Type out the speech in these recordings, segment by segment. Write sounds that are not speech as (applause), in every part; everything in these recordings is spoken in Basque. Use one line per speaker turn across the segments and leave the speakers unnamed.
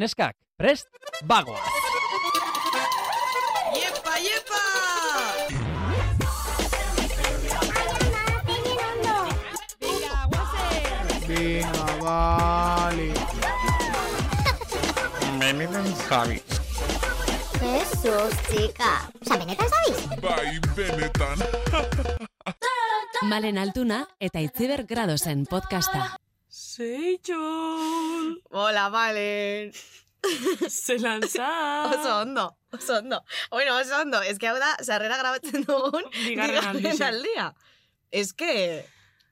Neskak, prest, bagoa!
Iepa, iepa!
Venga, guazen!
Venga, vale.
Benetan zabi.
Jesus, txika. Osa, benetan zabiz?
Bai, benetan.
Malen Altuna eta Itziber Gradosen podcasta.
Seitzol,
Hola, Malen.
zelan za!
(laughs) Oso ondo, oso ondo. Bueno, oso ondo. Ez que hau da, sarrera grabatzen dugun,
Bigarren aldixe.
aldia. Ez que...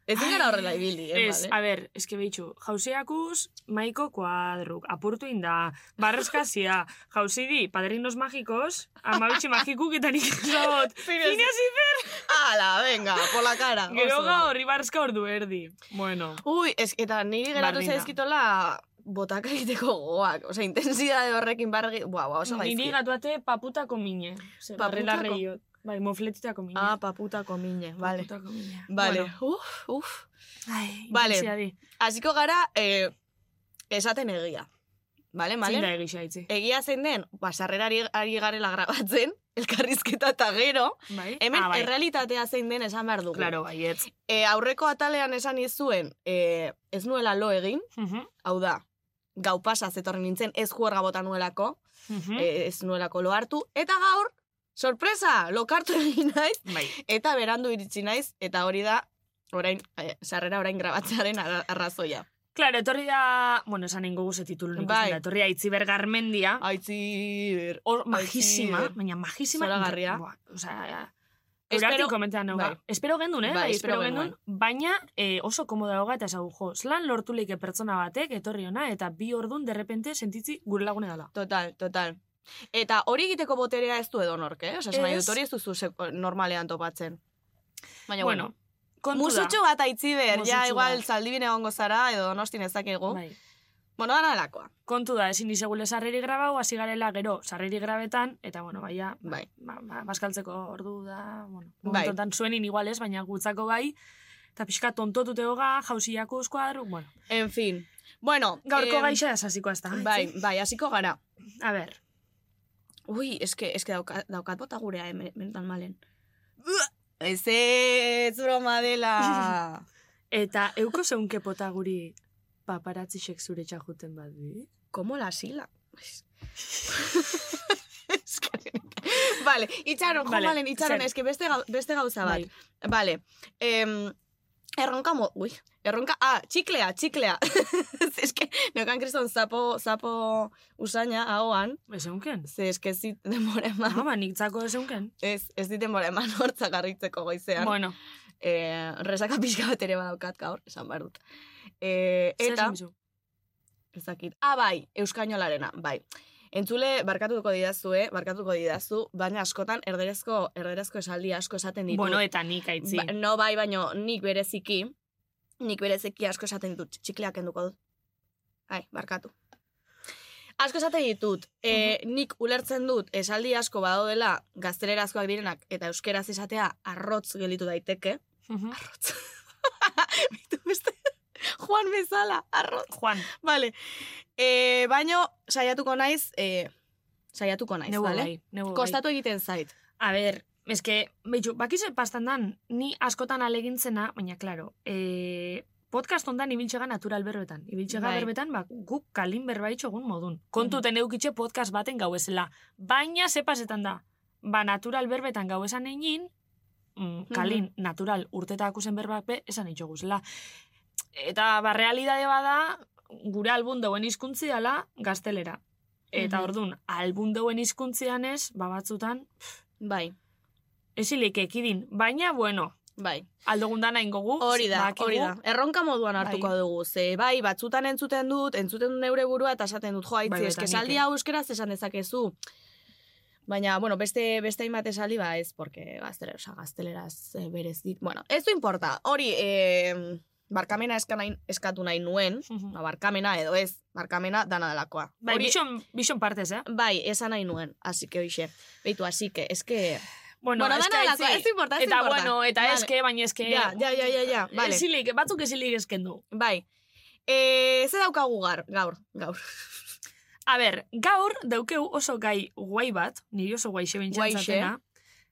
Ez
Ai,
gara horrela ibili, eh,
Ez, a
Malen?
ber, eske behitxu, jauseakuz, maiko kuadruk, apurtu inda, barrezkazia, jausidi, padrinos magikos,
(laughs)
amabitxe magikuk eta nik zagot,
Pero ez-
zinez iber,
Ala, venga, por la cara.
gero
oso ondo.
gaur, ibarrezka ordu erdi. Bueno,
Ui, ez, eta niri geratu
Bardina.
zaizkitola botaka egiteko gogoak. Osa, intensidade horrekin barri... Buah, buah, oso
niri
gaizki.
gatuate paputako mine. Ze, barrela
Paputako?
reiot. Bai, mofletitako mine.
Ah, paputako mine, vale.
Paputako mine.
Vale,
Bueno,
uf, uf.
ai,
Vale.
ikasiadi.
Hasiko gara, eh, esaten egia. Vale, Eh, Malen?
Zein da egisa itzi.
egia zein den, basarrera ari, ari garela grabatzen, (laughs) elkarrizketa eta gero,
Bai?
hemen
ah, bai.
errealitatea zein den esan behar dugu.
Claro, baietz.
E, aurreko atalean esan izuen, e, ez nuela lo egin,
Mhm,
hau da, gau pasa zetorren nintzen, ez juerga bota nuelako,
mhm.
e, ez nuelako lo hartu, eta gaur, sorpresa, lokartu egin naiz,
Bai.
eta berandu iritsi naiz, eta hori da, orain, e, sarrera orain grabatzearen arra- arrazoia.
Claro, etorri da, bueno, esan ingo guze titulu nik
Bai. Ah,
bai. etorri da Itziber Garmendia,
Aitzi,
hor majísima,
Itziber.
baina majísima.
Zoragarria.
Buah, O sea,
Espero-
Espero, komentean nau.
bai.
Espero gendun, eh?
Bai,
Bai, espero,
espero
gendun. Baina eh, oso komoda hoga eta esau jo. Zelan lortu leike pertsona batek, etorri ona, eta bi ordun derrepente sentitzi gure lagune dala.
Total, total. Eta hori egiteko boterea ez du edonork, eh? Osa, esan nahi
Ez.
dut hori ez duzu sek- normalean topatzen. Baina, bueno,
kontu
musutxu bat aitziber, ja,
Musutxu
igual
bat.
zaldibin egongo zara, edo donostin ezakigu.
da. Bai.
Bueno, dana delakoa.
Kontu da, ezin izegule sarreri grabau, hasi garela gero, sarreri grabetan, eta bueno, baia,
Bai.
ba, ba, baskaltzeko ordu da, bueno,
Bai.
bai. zuenin igual ez, baina gutzako bai, eta pixka tontotute hoga, jausiako eskuadru, bueno.
En fin. Bueno,
Gaurko
em,
gaixa esasikoa ez da.
Bai, bai, hasiko gara.
A ber,
Ui, eske, eske daukat, daukat bota gurea, eh, men- mental malen. Ua! Ez ez, broma (laughs) dela.
eta euko zeunke pota guri paparatzisek zure txajuten bat bi?
Como la sila. Eske, vale, itxaron, jo,
Vale,
vale, itxaron,
zer?
eske beste, gau, beste gauza bat.
Bai.
Vale, em, erronka mo... Ui, erronka... Ah, txiklea, txiklea. (laughs) eske, neukan kriston zapo, zapo usaina ahoan,
Ezeunken?
ze eske ez dit denbora eman.
Ah, ba, niktzako ezeunken?
Ez, ez dit denbora eman hortzak garritzeko goizean.
Bueno,
Eh, resaka pixka bat ere badaukat gaur, esan behar dut. Eh,
zer
eta...
esan bizu?
Ez dakit. Ah, bai, Euskainolarena, bai. Entzule, barkatuko didazue, barkatuko didazu, baina askotan erderezko, erderezko esaldi asko esaten ditu.
Bueno, eta nik aitzi.
Ba- no bai, baino nik bereziki, nik bereziki asko esaten ditut, txikleak enduko dut. Ai, barkatu. Asko esaten ditut, e, nik ulertzen dut esaldi asko badaudela gaztelerazkoak direnak eta euskeraz esatea arrotz gelitu daiteke.
Mhm.
Arrotz. (laughs) Bitu beste. Juan bezala, arrotz.
Juan,
(laughs) Vale. E, baino, saiatuko naiz, e, saiatuko naiz,
nebo
vale?
bai, nebo bai.
Kostatu egiten zait.
A ber, eske, behitxu, bakize pastan dan, ni askotan alegintzena, baina, klaro, e, podcast ondan ibiltxega natural berbetan. Ibiltxega
Bai.
berbetan, ba, guk kalin berbaitxo egun modun. Kontuten eukitxe podcast baten gauezela. Baina, zepazetan da, ba, natural berbetan gauezan egin, mm, kalin, natural, urtetako zen berbak be, esan itxoguzela. Eta, ba, realidade bada, gure albun dauen hizkuntzi dela gaztelera. Eta
Mhm.
ordun, albun dauen hizkuntzian ez, ba batzutan,
Bai,
Esilik ekidin, baina bueno,
bai.
aldogun dana ingogu.
Hori da,
badakigu,
hori da. Erronka moduan hartuko
Bai.
dugu. Ze, bai, batzutan entzuten dut, entzuten dut neure burua, eta esaten dut, jo,
Bai,
haitzi,
bai,
eske
eta nik,
esaldi
eh.
hau euskeraz esan dezakezu. Baina, bueno, beste beste hainbat esaldi ba ez, porque gaztelera, oza, gazteleraz eh, berezit. Bueno, ez du importa. Hori, eh, barkamena eska nahi- eskatu nahi nuen,
Mhm.
ba, barkamena edo ez, barkamena dana delakoa.
Bai,
Hori-
bison, bison partez, eh?
Bai, esan nahi nuen, así que hoxe. Beitu, así que, es que...
Bueno,
Bueno,
eske
dana
aitzi-
delakoa, ez importa, ez
Eta
importa.
bueno, eta
Vale.
eske, baina eske...
Ja, ja, ja, ja, ja, vale.
Esilik, batzuk esilik esken du.
Eh, Bai. E, ze daukagu gar, gaur, gaur.
A ber, gaur daukeu oso gai guai bat, niri oso
Guaixe.
guaixe bentsatzatena,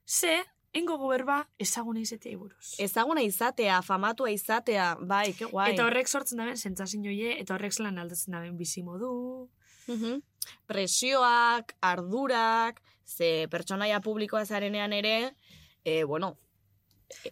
ze, engo goberba ezaguna izetea iburuz.
Ezaguna izatea, famatua izatea, bai, ke guai.
Eta horrek sortzen daben sentsazioie eta horrek zelan aldatzen daben bizimodu.
Mhm. Presioak, ardurak, ze pertsonaia publikoa zarenean ere, eh, bueno,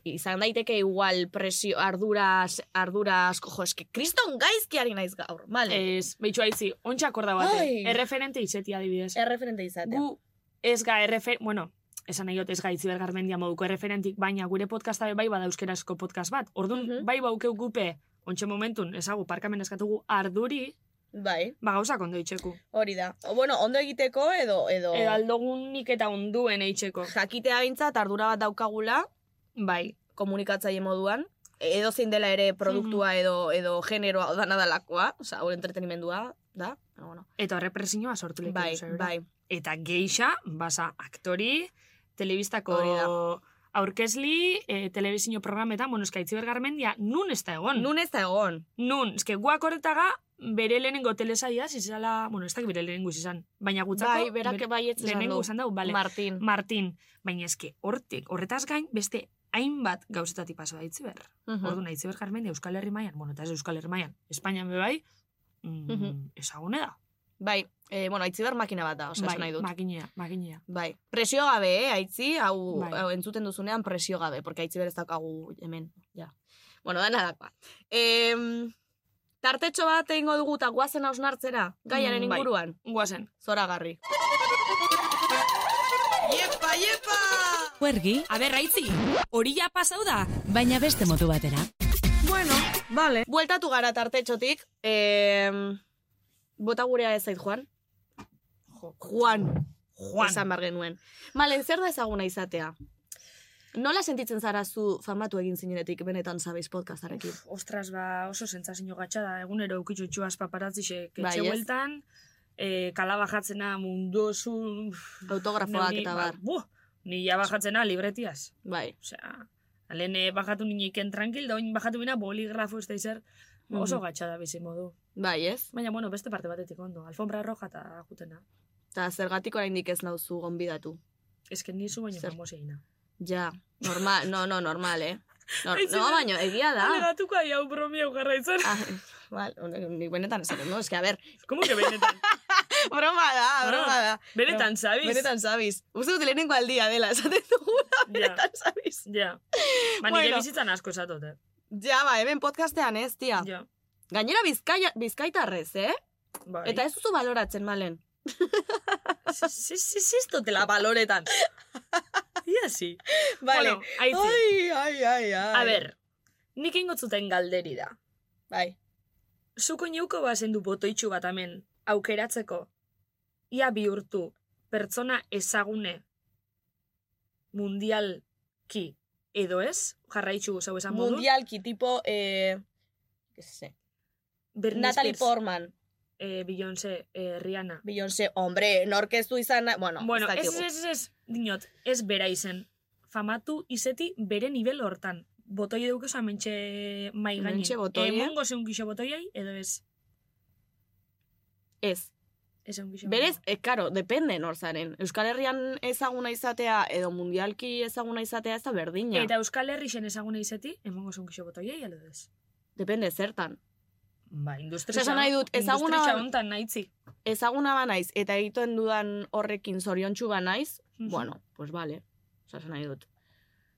izan daiteke igual presio, arduras, arduras, jo, eske, kriston gaizki ari naiz gaur, male?
Ez, behitxu aizi, ontsa akorda bate,
Bai. Ai.
erreferente izetia adibidez.
Erreferente izatea.
Gu ez ga errefer... Bueno, esan nahi dut ez ga itziber garmendia moduko erreferentik, baina gure podcasta be bai bada euskerazko podcast bat. Orduan,
Mhm.
bai baukeu gupe, ontsa momentun, ezagu, parkamen eskatugu arduri,
Bai,
ba gauzak ondo itxeku.
hori da. O, bueno, ondo egiteko edo, edo,
Edo aldogunik eta onduen eitzeko.
jakitea bintzat ardura bat daukagula,
Bai.
komunikatzaile moduan, E, edo zein dela ere
Mhm.
produktua edo, edo generoa dana dalakoa, oza, hori entretenimendua, da, Baina, bueno.
Eta horre presioa sortu lehiatu
Bai,
zaigu.
bai.
Eta geixa, basa aktori, telebistako
Hori da.
aurkezli, e, telebizio programetan, bueno, eska Itziber Garmendia, nun ez da egon.
Nun ez da egon.
Nun, eske guak horretaga, bere lehenengo telesaia, zizala, bueno, ez dakit bere lehenengo izan, baina gutzako,
Bai, berak
bere-
baietz esan
lehenengo
du.
izan dau, bale.
Martin.
Martin, baina eske hortik, horretaz gain, beste hainbat gauzetatik paso da Itziber.
Mhm.
Orduan, Aitziber Garmendia Euskal Herri mailan, bueno, eta ez Euskal Herri mailan, Espainian be bai, mm,
Mhm.
ezagune da.
Bai, eh, bueno, aitzi behar makina bat da, oza,
bai,
esan nahi dut.
makinea, makinea.
Bai, presio gabe, eh, aitzi, hau,
Bai.
hau entzuten duzunean presio gabe, porque aitzi berez daukagu hemen, ja. Bueno, dana dakoa. Em, tartetxo bat egingo dugu eta guazen hausnartzera, gaiaren
Mm, bai.
inguruan,
Guazen.
zora garri. Iepa, iepa!
Huergi,
Aber, raitzi, hori ja pasau da.
baina beste modu batera.
Bueno, vale. Bueltatu gara tartetxotik, em, bota gurea ez zait, Juan? Juan.
Juan.
Esan behar genuen. Malen, zer da ezaguna izatea? Nola sentitzen zara zu famatu egin zinenetik benetan zabeiz podcastarekin?
Ostras, ba, oso sentsazio gatxa da, egunero eukitxutxu paparatzisek
Bai,
etxe
ez?
bueltan, e, kala bajatzena mundu osu...
Autografoak
Neuri-
eta bar.
Ba, buh, ni ja bajatzena libretiaz.
Bai.
Osea, alen eh, bajatu niniken tranquil, da oin bajatu bina boligrafo ez da izer, Ba, oso
Mhm.
gatxa da bizi modu.
Bai, ez?
Baina, bueno, beste parte batetik ondo, alfombra roja eta jutena.
Eta zergatik oraindik ez nauzu gonbidatu.
Ez que nizu baino
Zer-
famoseina.
Ja, normal, no, no, normal, eh? Nor,
Aitzi,
no,
ber-
baino, egia da.
Alegatuko ahi hau bromi hau jarraitzen.
(laughs) Ah, Bal, nik benetan esaten, no? Ez que, a Ah, ber,
Como que benetan?
(laughs) broma da, broma da.
Benetan, sabiz?
(laughs) Benetan zabiz. Uste dut lehenengo aldia dela, esaten dugula, benetan zabiz.
Ja. Ba, nire
Bueno.
bizitzan asko esatote.
Ja, ba, hemen podcastean ez, tia.
Ja.
Gainera bizkaia, bizkaitarrez, eh?
Bai. (laughs)
Eta ez duzu baloratzen, malen.
ziztotela
(laughs)
baloretan. Ia si. Bueno, aitzi.
ai, ai, ai, ai.
A ber, nik ingotzuten galderi da.
Bai.
Zuko neuko bazen du botoitxu bat hemen, aukeratzeko, ia bihurtu, pertsona ezagune, mundialki, edo ez, jarraitxu zau esan modu.
Mundialki, tipo, eh... que se-
Britney
Natalie
Spears,
Portman,
Eh, Beyoncé, eh, Rihanna.
Beyoncé, hombre, norkeztu izan, na- bueno,
bueno,
ez
ez,
dakigu.
ez, ez, ez, dinot, ez bera izen. Famatu izeti bere nivel hortan. Botoi duke oso mentxe mai gainen.
Hementxe botoia.
Emongo zeun gixo botoiai, edo ez.
Ez.
Ez eun gixo.
Berez, e, karo, depende nor zaren. Euskal Herrian ezaguna izatea edo mundialki ezaguna izatea ez da berdina.
Eta Euskal Herri zen ezaguna izeti, emongo zeun gixo botoiai, edo ez.
Depende zertan.
Ba, industria.
Osea, esan nahi dut, ezaguna-
Industria hontan nahitzi.
ezaguna ba naiz eta egiten dudan horrekin zoriontsu ba naiz,
Mhm.
(laughs) bueno, pues vale, osa esan nahi dut.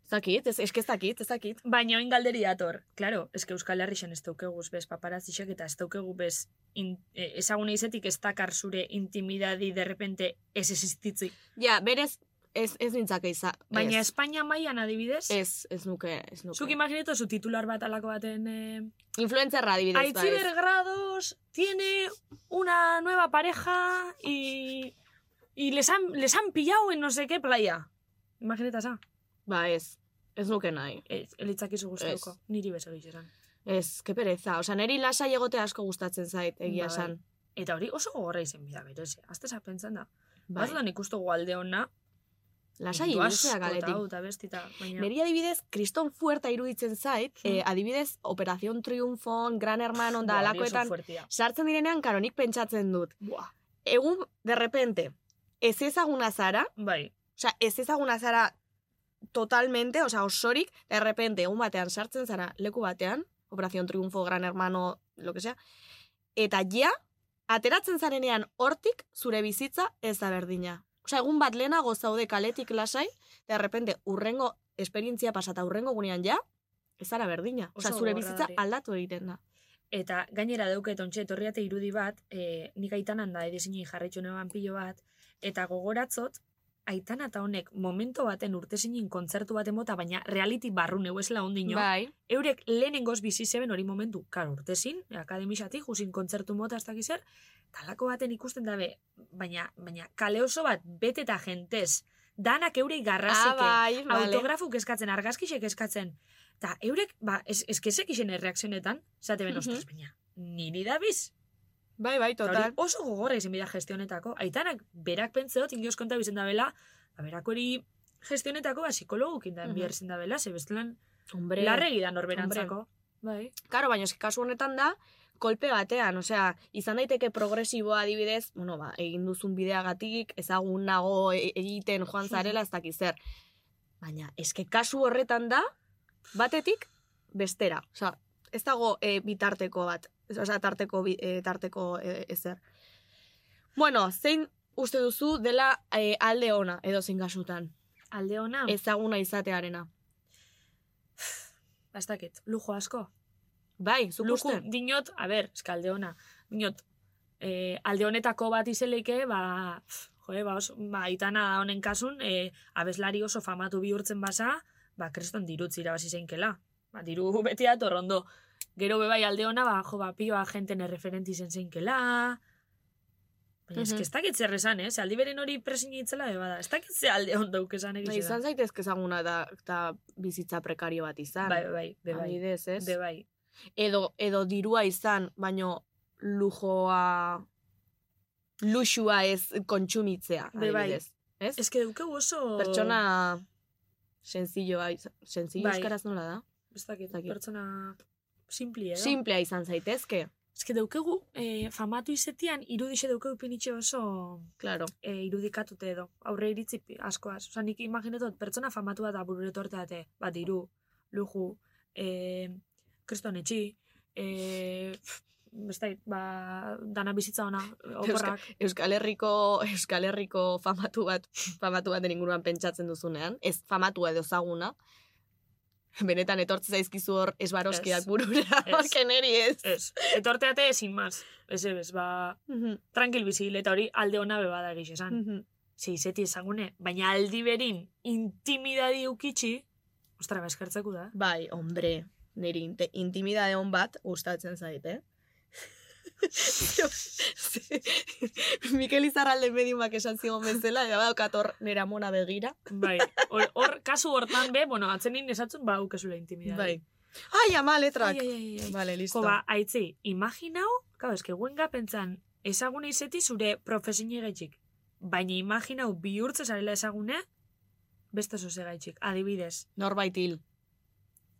Ez dakit, ez, eske ez dakit, ez dakit.
Baina oin galderi dator. Claro, eske Euskal Herri zen ez daukeguz bez paparatzisek eta ez daukegu bez in, eh, ezaguna izetik ez dakar zure intimidadi derrepente ez existitzi.
Ja, berez, ez, ez nintzake iza.
Baina
ez,
Espainia mailan adibidez,
ez, ez nuke, ez nuke.
Zuk imagineto zu titular bat alako baten... Eh,
Influentzerra adibidez, bai.
Aitziber Grados tiene una nueva pareja y, y les, han, les han pillado en no sé qué playa. Imagineta esa.
Ba, ez. Ez nuke nahi.
Ez, elitzakizu guztauko. Niri beso gizan.
Ez, ke pereza. Osa, neri lasai egote asko gustatzen zait, egia
Bai.
esan.
Eta hori oso gogorra izen bida berez. eh? Azte zapentsan da.
Bai.
Bai. Bazudan ikustugu alde hona.
Lasai ilusea galetik.
Eta bestita. Baina...
Neri adibidez, kriston fuerta iruditzen zait, eh, adibidez, Operación Triunfon, Gran Hermano, da
Hmm. Buah, hori oso
alakoetan,
fuertea.
sartzen direnean, karo, nik pentsatzen dut.
Buah.
egun, derrepente, ez ezaguna zara,
Bai.
Osea, ez ezaguna zara totalmente, osea, osorik, de repente, egun batean sartzen zara leku batean, Operación Triunfo, Gran Hermano, lo que sea, eta ja, ateratzen zarenean hortik zure bizitza ez da berdina. Osea, egun bat lehenago zaude kaletik lasai, de repente, urrengo esperientzia pasata urrengo gunean ja, ez zara berdina. Osea,
Oso
zure
gogorra
bizitza
hori.
aldatu egiten da.
Eta gainera dauket ontxe etorriate irudi bat, e, nik aitanan da edizini jarritxu neban pilo bat, eta gogoratzot, aitan eta honek momento baten urtezinin kontzertu bat emota, baina reality barru neu esla ondino.
Bai.
Eurek lehenengoz bizi zeben hori momentu, kar urtezin, akademisatik, jusin kontzertu mota ez dakiz zer, talako baten ikusten dabe, baina, baina kale oso bat bete eta jentez, danak eurei
Ah,
garrazike,
bai, vale.
autografuk eskatzen, argazkisek eskatzen. Ta eurek, ba, ez, eskesek isen erreakzionetan, zate ben,
Mhm.
ostras, baina, niri da biz.
Bai, bai,
Ta hori
total.
oso gogorra izan bida gestionetako. Aitanak berak pentseot, ingioz konta bizen da bela, ba, berak hori gestionetako, ba, psikologukin da,
Mhm.
bihar zen da bela, ze bestelan,
Hombre.
larregi da norberantzako. Bai.
Karo, baina eski kasu honetan da, kolpe batean, osea, izan daiteke progresiboa adibidez, bueno, ba, egin duzun bideagatik, ezagun nago e- egiten joan zarela, ez dakiz zer. Baina, eske kasu horretan da, batetik, bestera. Osea, ez dago e, bitarteko bat, osea, tarteko, bi- e, tarteko e, ezer. Bueno, zein uste duzu dela e, alde ona, edo zein kasutan,
Alde ona,
ezaguna izatearena.
ba, ez dakit, lujo asko.
Bai, zuk
Luku,
uste?
dinot, a ber, eske alde ona, dinot, eh, alde honetako bat izeleike, ba, pf, joe, ba, oso, ba, itana honen kasun, eh, abeslari oso famatu bihurtzen basa, ba, kreston dirutz irabazi zeinkela. Ba, diru (laughs) beti torrondo. Gero bebai alde ona, ba, jo, ba, pioa jenten erreferenti zen zeinkela, Baina eske
Mhm.
ez dakit zer esan, eh? Ze aldi beren hori presin itzela beba da. Ez dakit ze alde ondauk esan
Ba,
egizu da.
izan zaitezke ezaguna da, eta bizitza prekario bat izan.
Bai, bai, bai, bai.
Adibidez, ez?
Be bai.
Edo, edo dirua izan, baino lujoa, luxua ez kontsumitzea,
Be bai.
adibidez. Ez?
Ez que dukeu oso...
Pertsona senzilloa izan. Senzillo
Bai.
euskaraz nola da?
Ez dakit,
Dakit.
pertsona simpli edo.
Simplea izan zaitezke,
Ez que daukegu, eh, famatu izetian, irudixe daukegu pinitxe oso
claro.
eh, irudikatute edo. Aurre iritzi pi- askoaz. Osa, nik imaginetot pertsona famatua da burure torte date. Bat, diru, luju, eh, kriston etxi, eh, pf, bestai, ba, dana bizitza
(laughs)
ona, oporrak.
Euskal Herriko, Euskal Herriko famatu bat, famatu baten inguruan pentsatzen duzunean, ez famatua edo zaguna, benetan etortze zaizkizu hor esbaroskiak
Ez.
burura, (laughs)
Ez.
hor keneri ez.
Ez, etorteate ezin maz. Ez, ez, ba,
Mhm,
tranquil bizi, eta hori alde hona bebada egiz esan.
mhm.
ze izeti ezagune, baina aldi berin intimidadi ukitxi, ostra, ba, eskertzeko da.
Bai, hombre, niri inte, intimidade hon bat gustatzen zait, eh? (laughs) Mikel Izarralde mediumak esan zion bezala, eta badaukat hor nera mona begira.
Bai, (laughs) hor, hor kasu hortan be, bueno, atzenin esatzen ba, aukezula intimidadi.
Bai. Ai, ama letrak.
Ai, ai, ai, ai.
Vale, listo.
Ko, ba, aitzi, imaginau, kau, eske guen gapentzan, ezagune izeti zure profesini gaitxik. Baina imaginau bihurtze zarela ezagune, beste oso gaitxik. Adibidez,
Norbait hil.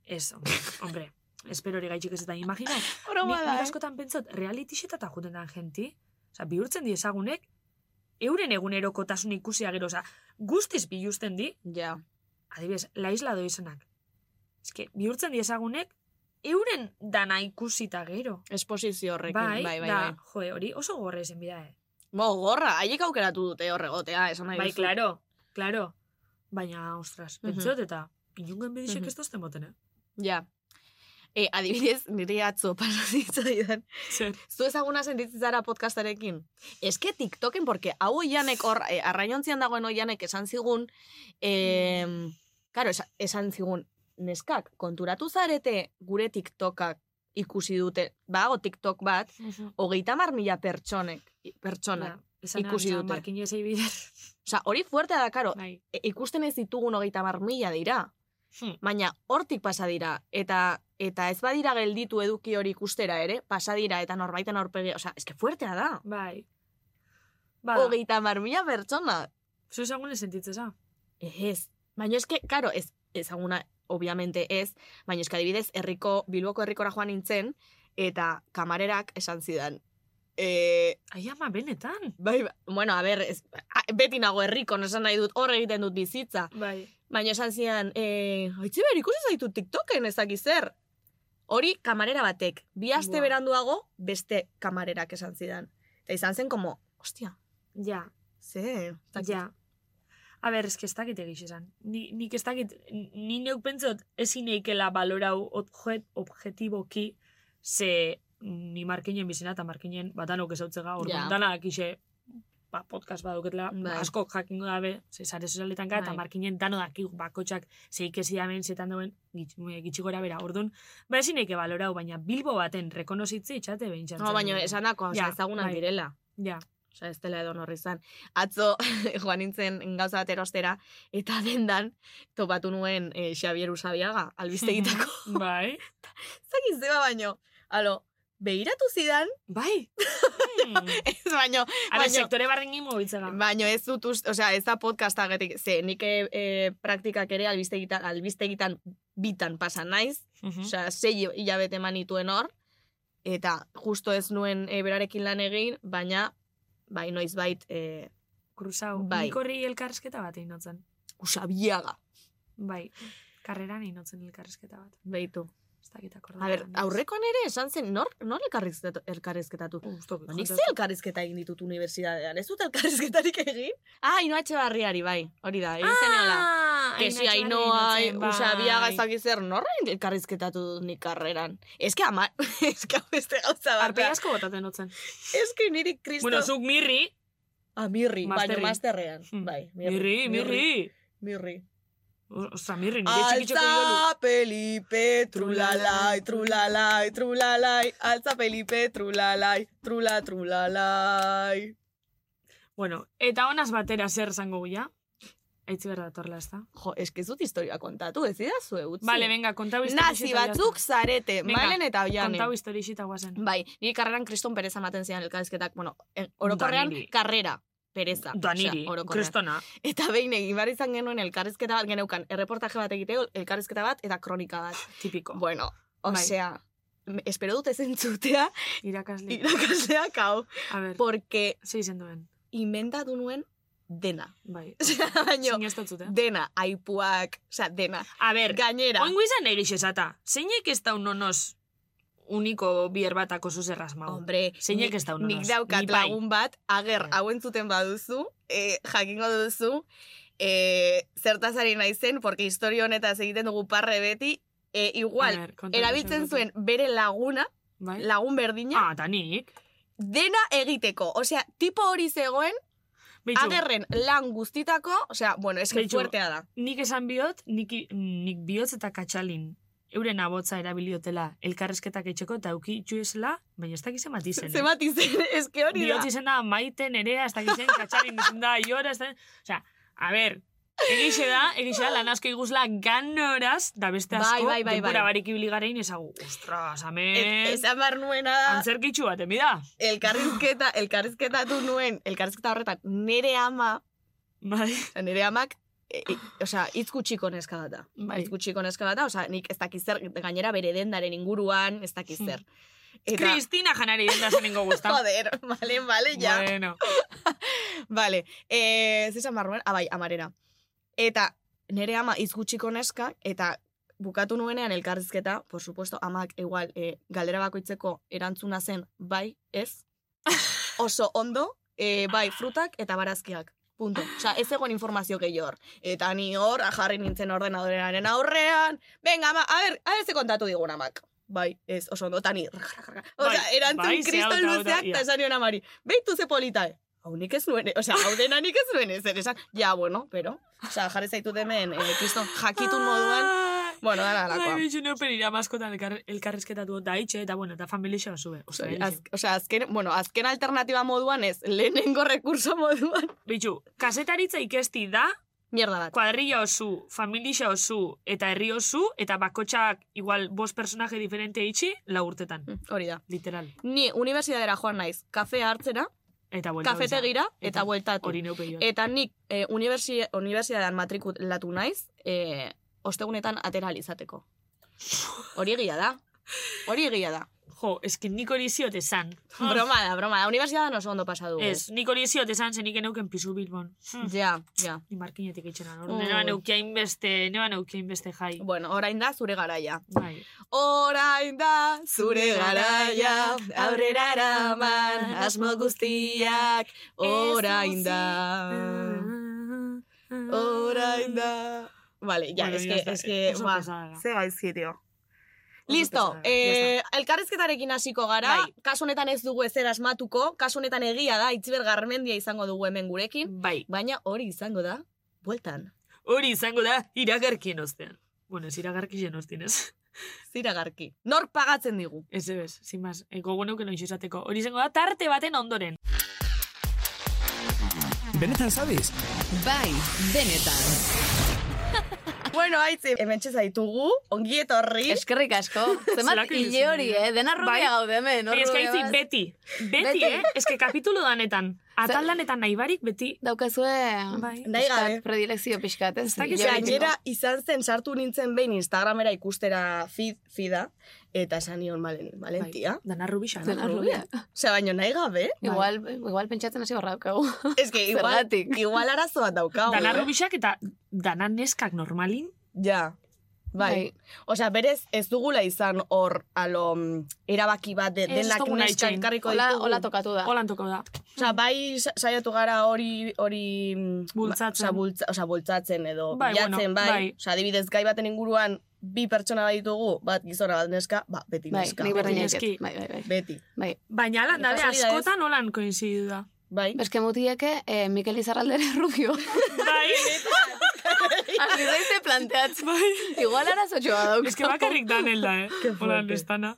ez, hombre, hombre espero hori gaitxik ez eta imaginau.
Broma
Nik,
da,
nik
eh?
askotan pentsat, realitixetata juten den jenti, oza, bihurtzen di ezagunek, euren egunerokotasun ikusia gero, oza, guztiz biluzten di,
Ja.
adibidez, la isla do izanak. Eske, bihurtzen di ezagunek, euren dana ikusita gero.
Esposizio horrekin, bai, bai, bai.
da,
bai.
joe, hori oso gorra izen bida, eh?
Bo, gorra, haiek aukeratu dute horregotea, esan nahi
bai,
duzu.
klaro, klaro. Baina, ostras,
Mhm.
pentsot eta, inungan bedixek
Mhm.
ez dozten boten, eh?
Ja. E, adibidez, nire atzo pasazitzaidan.
Zer,
Zu ezaguna sentitzen zara podcastarekin. Eske TikToken, porque hau oianek hor, e, arrainontzian dagoen oianek esan zigun, e, karo, esa- esan zigun, neskak, konturatu zarete gure TikTokak ikusi dute, bago TikTok bat, hogeita mar mila pertsonek, pertsonak.
Na, esan
ikusi
esan
dute.
Markinez eibider.
Osa, hori fuertea da, karo,
Bai.
e- ikusten ez ditugun hogeita mar mila dira.
Hm.
Baina hortik pasa dira eta eta ez badira gelditu eduki hori ikustera ere, pasa dira eta norbaiten aurpegi, osea, eske fuertea da.
Bai. Ba.
Bada.
Bada,
Hogeita mar mila pertsona.
zu ezagunez sentitzeza.
Ez. Baina eske, karo, ez ezaguna, obviamente ez, baina eske adibidez, herriko, Bilboko herrikora joan nintzen, eta kamarerak esan zidan, eh,
Ai, ama, benetan.
bai, ba- bueno, a ber, ez, a- beti nago herrikon, esan nahi dut, hor egiten dut bizitza.
Bai.
Baina esan zian, eh, haitzi behar ikusi zaitu TikToken ezaki zer. Hori kamarera batek. Bi aste
Buah.
beranduago beste kamarerak esan zidan. Eta izan zen como, ostia,
Ja,
ze, ez dakit.
ja. A ber, eske ez dakit egiz esan. Ni, nik ez dakit, ni neuk pentsot ezin eikela balorau objet, objetiboki, ze ni markinen bizena eta markinen batanok ezautzega, orduan
Ja.
dana dakixe ba, podcast baduketela,
Bai.
asko jakingo dabe, ze sare sozialetan ka, eta
Bai.
markinen dano dakigu bakotxak zeikesi damen, zetan duen, gitxi gora bera, orduan, ba ezin eike balorau, baina Bilbo baten rekonozitzi itxate behintzen.
No, baina esan dako,
Ja,
ja, ezagunak
bai.
direla.
Ja,
Osa, ez dela edo norri izan. Atzo, (laughs) joan nintzen gauza bat erostera, eta dendan topatu nuen eh, Xavier Usabiaga,
(laughs)
albistegitako.
bai.
Zagiz zeba baino, alo, behiratu zidan,
Bai. (laughs)
ez baino, Hmm.
Ara,
Baina- Ba-
sektore barren mugitzega.
baino ez dut, ust- osea, ez da podcasta getik, ze, nik e, praktikak ere albistegitan, albistegitan bitan pasa naiz,
Mhm.
osea, sei hilabete eman nituen hor, eta justo ez nuen e, berarekin lan egin, baina, bai, noizbait, e,
Kruzau.
Bai.
Nik horri elkarrezketa bat egin notzen.
Usabiaga.
Bai. Karreran egin notzen elkarrezketa bat.
Beitu.
Ez dakit
A
akordatzen.
ber, aurrekoan ere esan zen, nor, nor elkarrizketatu? elkarrizketatu? Ba, Nik ze elkarrizketa egin ditut unibertsitatean, ez dut elkarrizketarik egin? Ah, Ainoa Etxebarriari, bai, hori da, egin zenela.
Ah,
Que si Ainoa,
bai.
Usabiaga ez dakit zer, norra elkarrizketatu dut nik karreran. Ez que ama, (laughs) ez que hau beste gauza bat.
Arpegi
da.
asko botaten notzen.
Ez que niri kristo...
Bueno, zuk mirri.
ah, mirri, baina
Masterri.
masterrean.
Hmm.
Bai,
Mirri, mirri.
Mirri.
O- Ostra, mirri, nire
Ah,
txikitxoko idolu.
Altza Felipe, trulalai, trulalai, trulalai, altza Felipe, trulalai, trula, trulalai.
Bueno, eta honaz batera zer zango guia. Aitzi berda torla, ez da?
Jo, eske ez dut historia kontatu, ez dira zue utzi.
Vale, venga, kontau historia.
Nazi batzuk zarete,
Venga,
malen eta
Kontau
oianen.
historia xita guazen.
Bai, nire karreran kriston pereza ematen zian elkarrezketak, bueno, en- orokorrean
Daniri.
karrera pereza.
Daniri,
Osea, orokorrean.
Ba, kristona.
Eta behin egin behar izan genuen elkarrezketa bat, geneukan, erreportaje bat egiteo, elkarrezketa bat eta kronika bat.
Tipiko.
Bueno,
Bai.
osea, me- espero dut ez entzutea,
Irakasle.
irakasleak hau.
A ver,
Porque
ze izen duen.
inventatu nuen dena. (laughs)
Bai.
Baina,
Sinestatut, eh?
dena, aipuak, osea, dena.
A ber,
Gainera,
oingo izan egiz esata. Zeinek ez daun onoz uniko bier batako zuzerraz mau.
hombre,
Zeinek
nik-
ez daun
nik
onoz.
daukat
Ni bai.
lagun bat, ager, hau entzuten baduzu, eh, jakingo duzu, eh, zertazari naizen, porque historio honetaz egiten dugu parre beti, eh,
A
igual,
ber, kontatu
erabiltzen zuen
zergatik.
bere laguna,
Bai?
lagun berdina,
Ah, eta nik.
dena egiteko. Osea, tipo hori zegoen,
Beitxu,
agerren lan guztitako, osea, bueno, eske
Kaixo.
fuertea da.
nik esan bihot, nik, nik bihotz eta katxalin euren abotza erabiliotela elkarrezketak etxeko eta auki itxu ezela, baina ez dakizen bat izen. eh?
Zenbat (laughs) izen, eske hori da.
Bihotz izena maite nerea, ez dakizen katxalin izen da, iora, ez da... Osea, a ber, egixe da, egixe da, lan asko iguzla ganoraz, da beste asko,
Bai, bai, bai,
denbora
bai.
barik ibili garein ezagu. Ostras,
Ez-
amen,
E, Esan behar nuena da,
antzerkitxu bat, emida.
elkarrizketa, elkarrizketatu nuen, elkarrizketa horretan nere ama,
Bai.
nere amak, e, e, osea, hitz gutxiko neska bat da.
Bai.
Hitz gutxiko neska bat da, osea, nik ez dakiz zer, gainera bere dendaren inguruan, ez dakiz
Hmm.
zer. Eta,
Kristina janari denda zenengo guztan.
joder, (laughs) vale, vale, ja.
Bueno,
(laughs) Vale, eh, zesan barruen, abai, amarera. Eta nere ama izgutxiko neska, eta bukatu nuenean elkarrizketa, por supuesto, amak igual eh, galdera bakoitzeko erantzuna zen bai,
(laughs)
ez, oso ondo, eh, bai, frutak eta barazkiak. Punto. Osa, ez egon informazio gehior. Eta ni hor, ah, jarri nintzen ordenadorearen aurrean, venga, ama, a ber, a ber, ze kontatu digun amak. Bai, ez, oso ondo, eta ni, Osa,
Bai,
erantzun
bai, ze
kriston
hau da, hau da,
luzeak,
ia.
eta esan nion amari, beitu ze polita, eh? Hau nik ez nuen, osea, hau dena nik ez nuen ezer esan. Ja, bueno, pero, osea, jarri zaitu demen, eh, kriston jakitun moduan, bueno, dara
Ai, bai,
alakoa.
bitxu neupen ira maskotan elkar, elkarrezketatu da itxe, eta bueno, eta familia xo zube. Ostra,
Az, osea, azken, bueno, azken alternatiba moduan ez, lehenengo rekurso moduan.
Bitxu, kasetaritza ikesti da,
Mierda bat.
kuadrilla osu, familia osu, eta herri osu, eta bakotxak igual bost personaje diferente itxi, la urtetan,
Mm, Hori da.
literal.
Ni universidadera joan naiz, kafea hartzera,
Eta buelta.
kafetegira
Eta
eta bueltatu.
Hori neupe joan.
Eta nik eh, universi, universidadean matrikulatu naiz, eh, ostegunetan atera ahal izateko. Hori egia da. Hori egia da.
Jo, eskin nik hori ziot esan.
Broma da, broma da. Unibertsitatean oso ondo pasa dugu.
Ah. Ez, nik hori ziot esan zenik eneuken pizu bilbon. Hm.
Ja, ja.
Ni markinetik itxena, no?
Mm.
Neba neukein beste, neba neukein beste jai.
Bueno, orain da zure garaia.
Bai.
Orain da zure garaia, aurrera eraman, asmo guztiak, Mm. orain da, orain da. Vale, ya,
Bueno,
es
ya
que,
está,
es que,
oso
ba,
pesada da.
ze gaizki, tío.
Oso
Listo,
pesada da,
eh, elkarrizketarekin hasiko gara,
Bai.
kasu honetan ez dugu ezer asmatuko, kasu honetan egia da, itziber garmendia izango dugu hemen gurekin,
Bai,
baina hori izango da, bueltan,
hori izango da iragarkien ostean. Bueno, ez iragarkien ostean, ez? (laughs)
ziragarki. Nor pagatzen digu?
Ez ebes, sin más, eh, gogo neuken oizu esateko. Hori izango da tarte baten ondoren.
Benetan zabiz?
Bai, benetan.
Bueno, aitzi, hemen txezaitugu, ongi etorri.
Eskerrik
(laughs)
asko. Zemat
Bai? Zelako
hile
ilusioa.
hori, eh? Dena rubia
Bai.
gaude hemen. hor
Bai, ez que
rubia
haitzi,
bat.
beti. Beti,
Beti.
eh? Ez que kapitulu danetan. Atal danetan nahi barik, beti.
Daukazue...
Bai.
Nahi
pixkat,
gabe.
Predilekzio pixkat, ez?
Ez dakit
Hile
ze
hori.
Gainera, izan zen sartu nintzen behin Instagramera ikustera feed, feeda, eta esan nion malen, malentia.
Dana rubisa.
Dena rubia.
Bai.
Osea, baino nahi gabe,
Igual, igual pentsatzen hasi barra daukagu.
ez que igual,
Zergatik.
igual arazo bat daukagu.
Dana
eh?
rubisak eta dana neskak normalin.
Ja, bai. Osea, berez ez dugula izan hor, alo, mm, erabaki bat de,
Ez
denak
duguna
neska
itxain.
elkarriko
Hola,
ditugu.
hola tokatu da.
Holan toko da.
Osea, bai sa- saiatu gara hori hori mm,
Bultzatzen.
ba- osea, bultza, osea, bultzatzen edo
Bai,
bilatzen
bueno,
bai.
bai.
Osea, adibidez gai baten inguruan bi pertsona baditugu, bat gizona bat neska, ba, beti
Bai,
neska.
nik berdin
Beti
egin.
neski.
Bai, bai, bai.
beti.
bai.
Baina lan dabe
Kasualidadez.
askotan holan koinzidu da.
Bai.
Beske mutieke, eh, Mikel Izarraldere rubio.
(laughs) Bai,
Asi zaitze planteatzen. Igual arazotxoa dauk.
ez que bakarrik danen da, eh?
Ke fuerte.
Holan ez dana.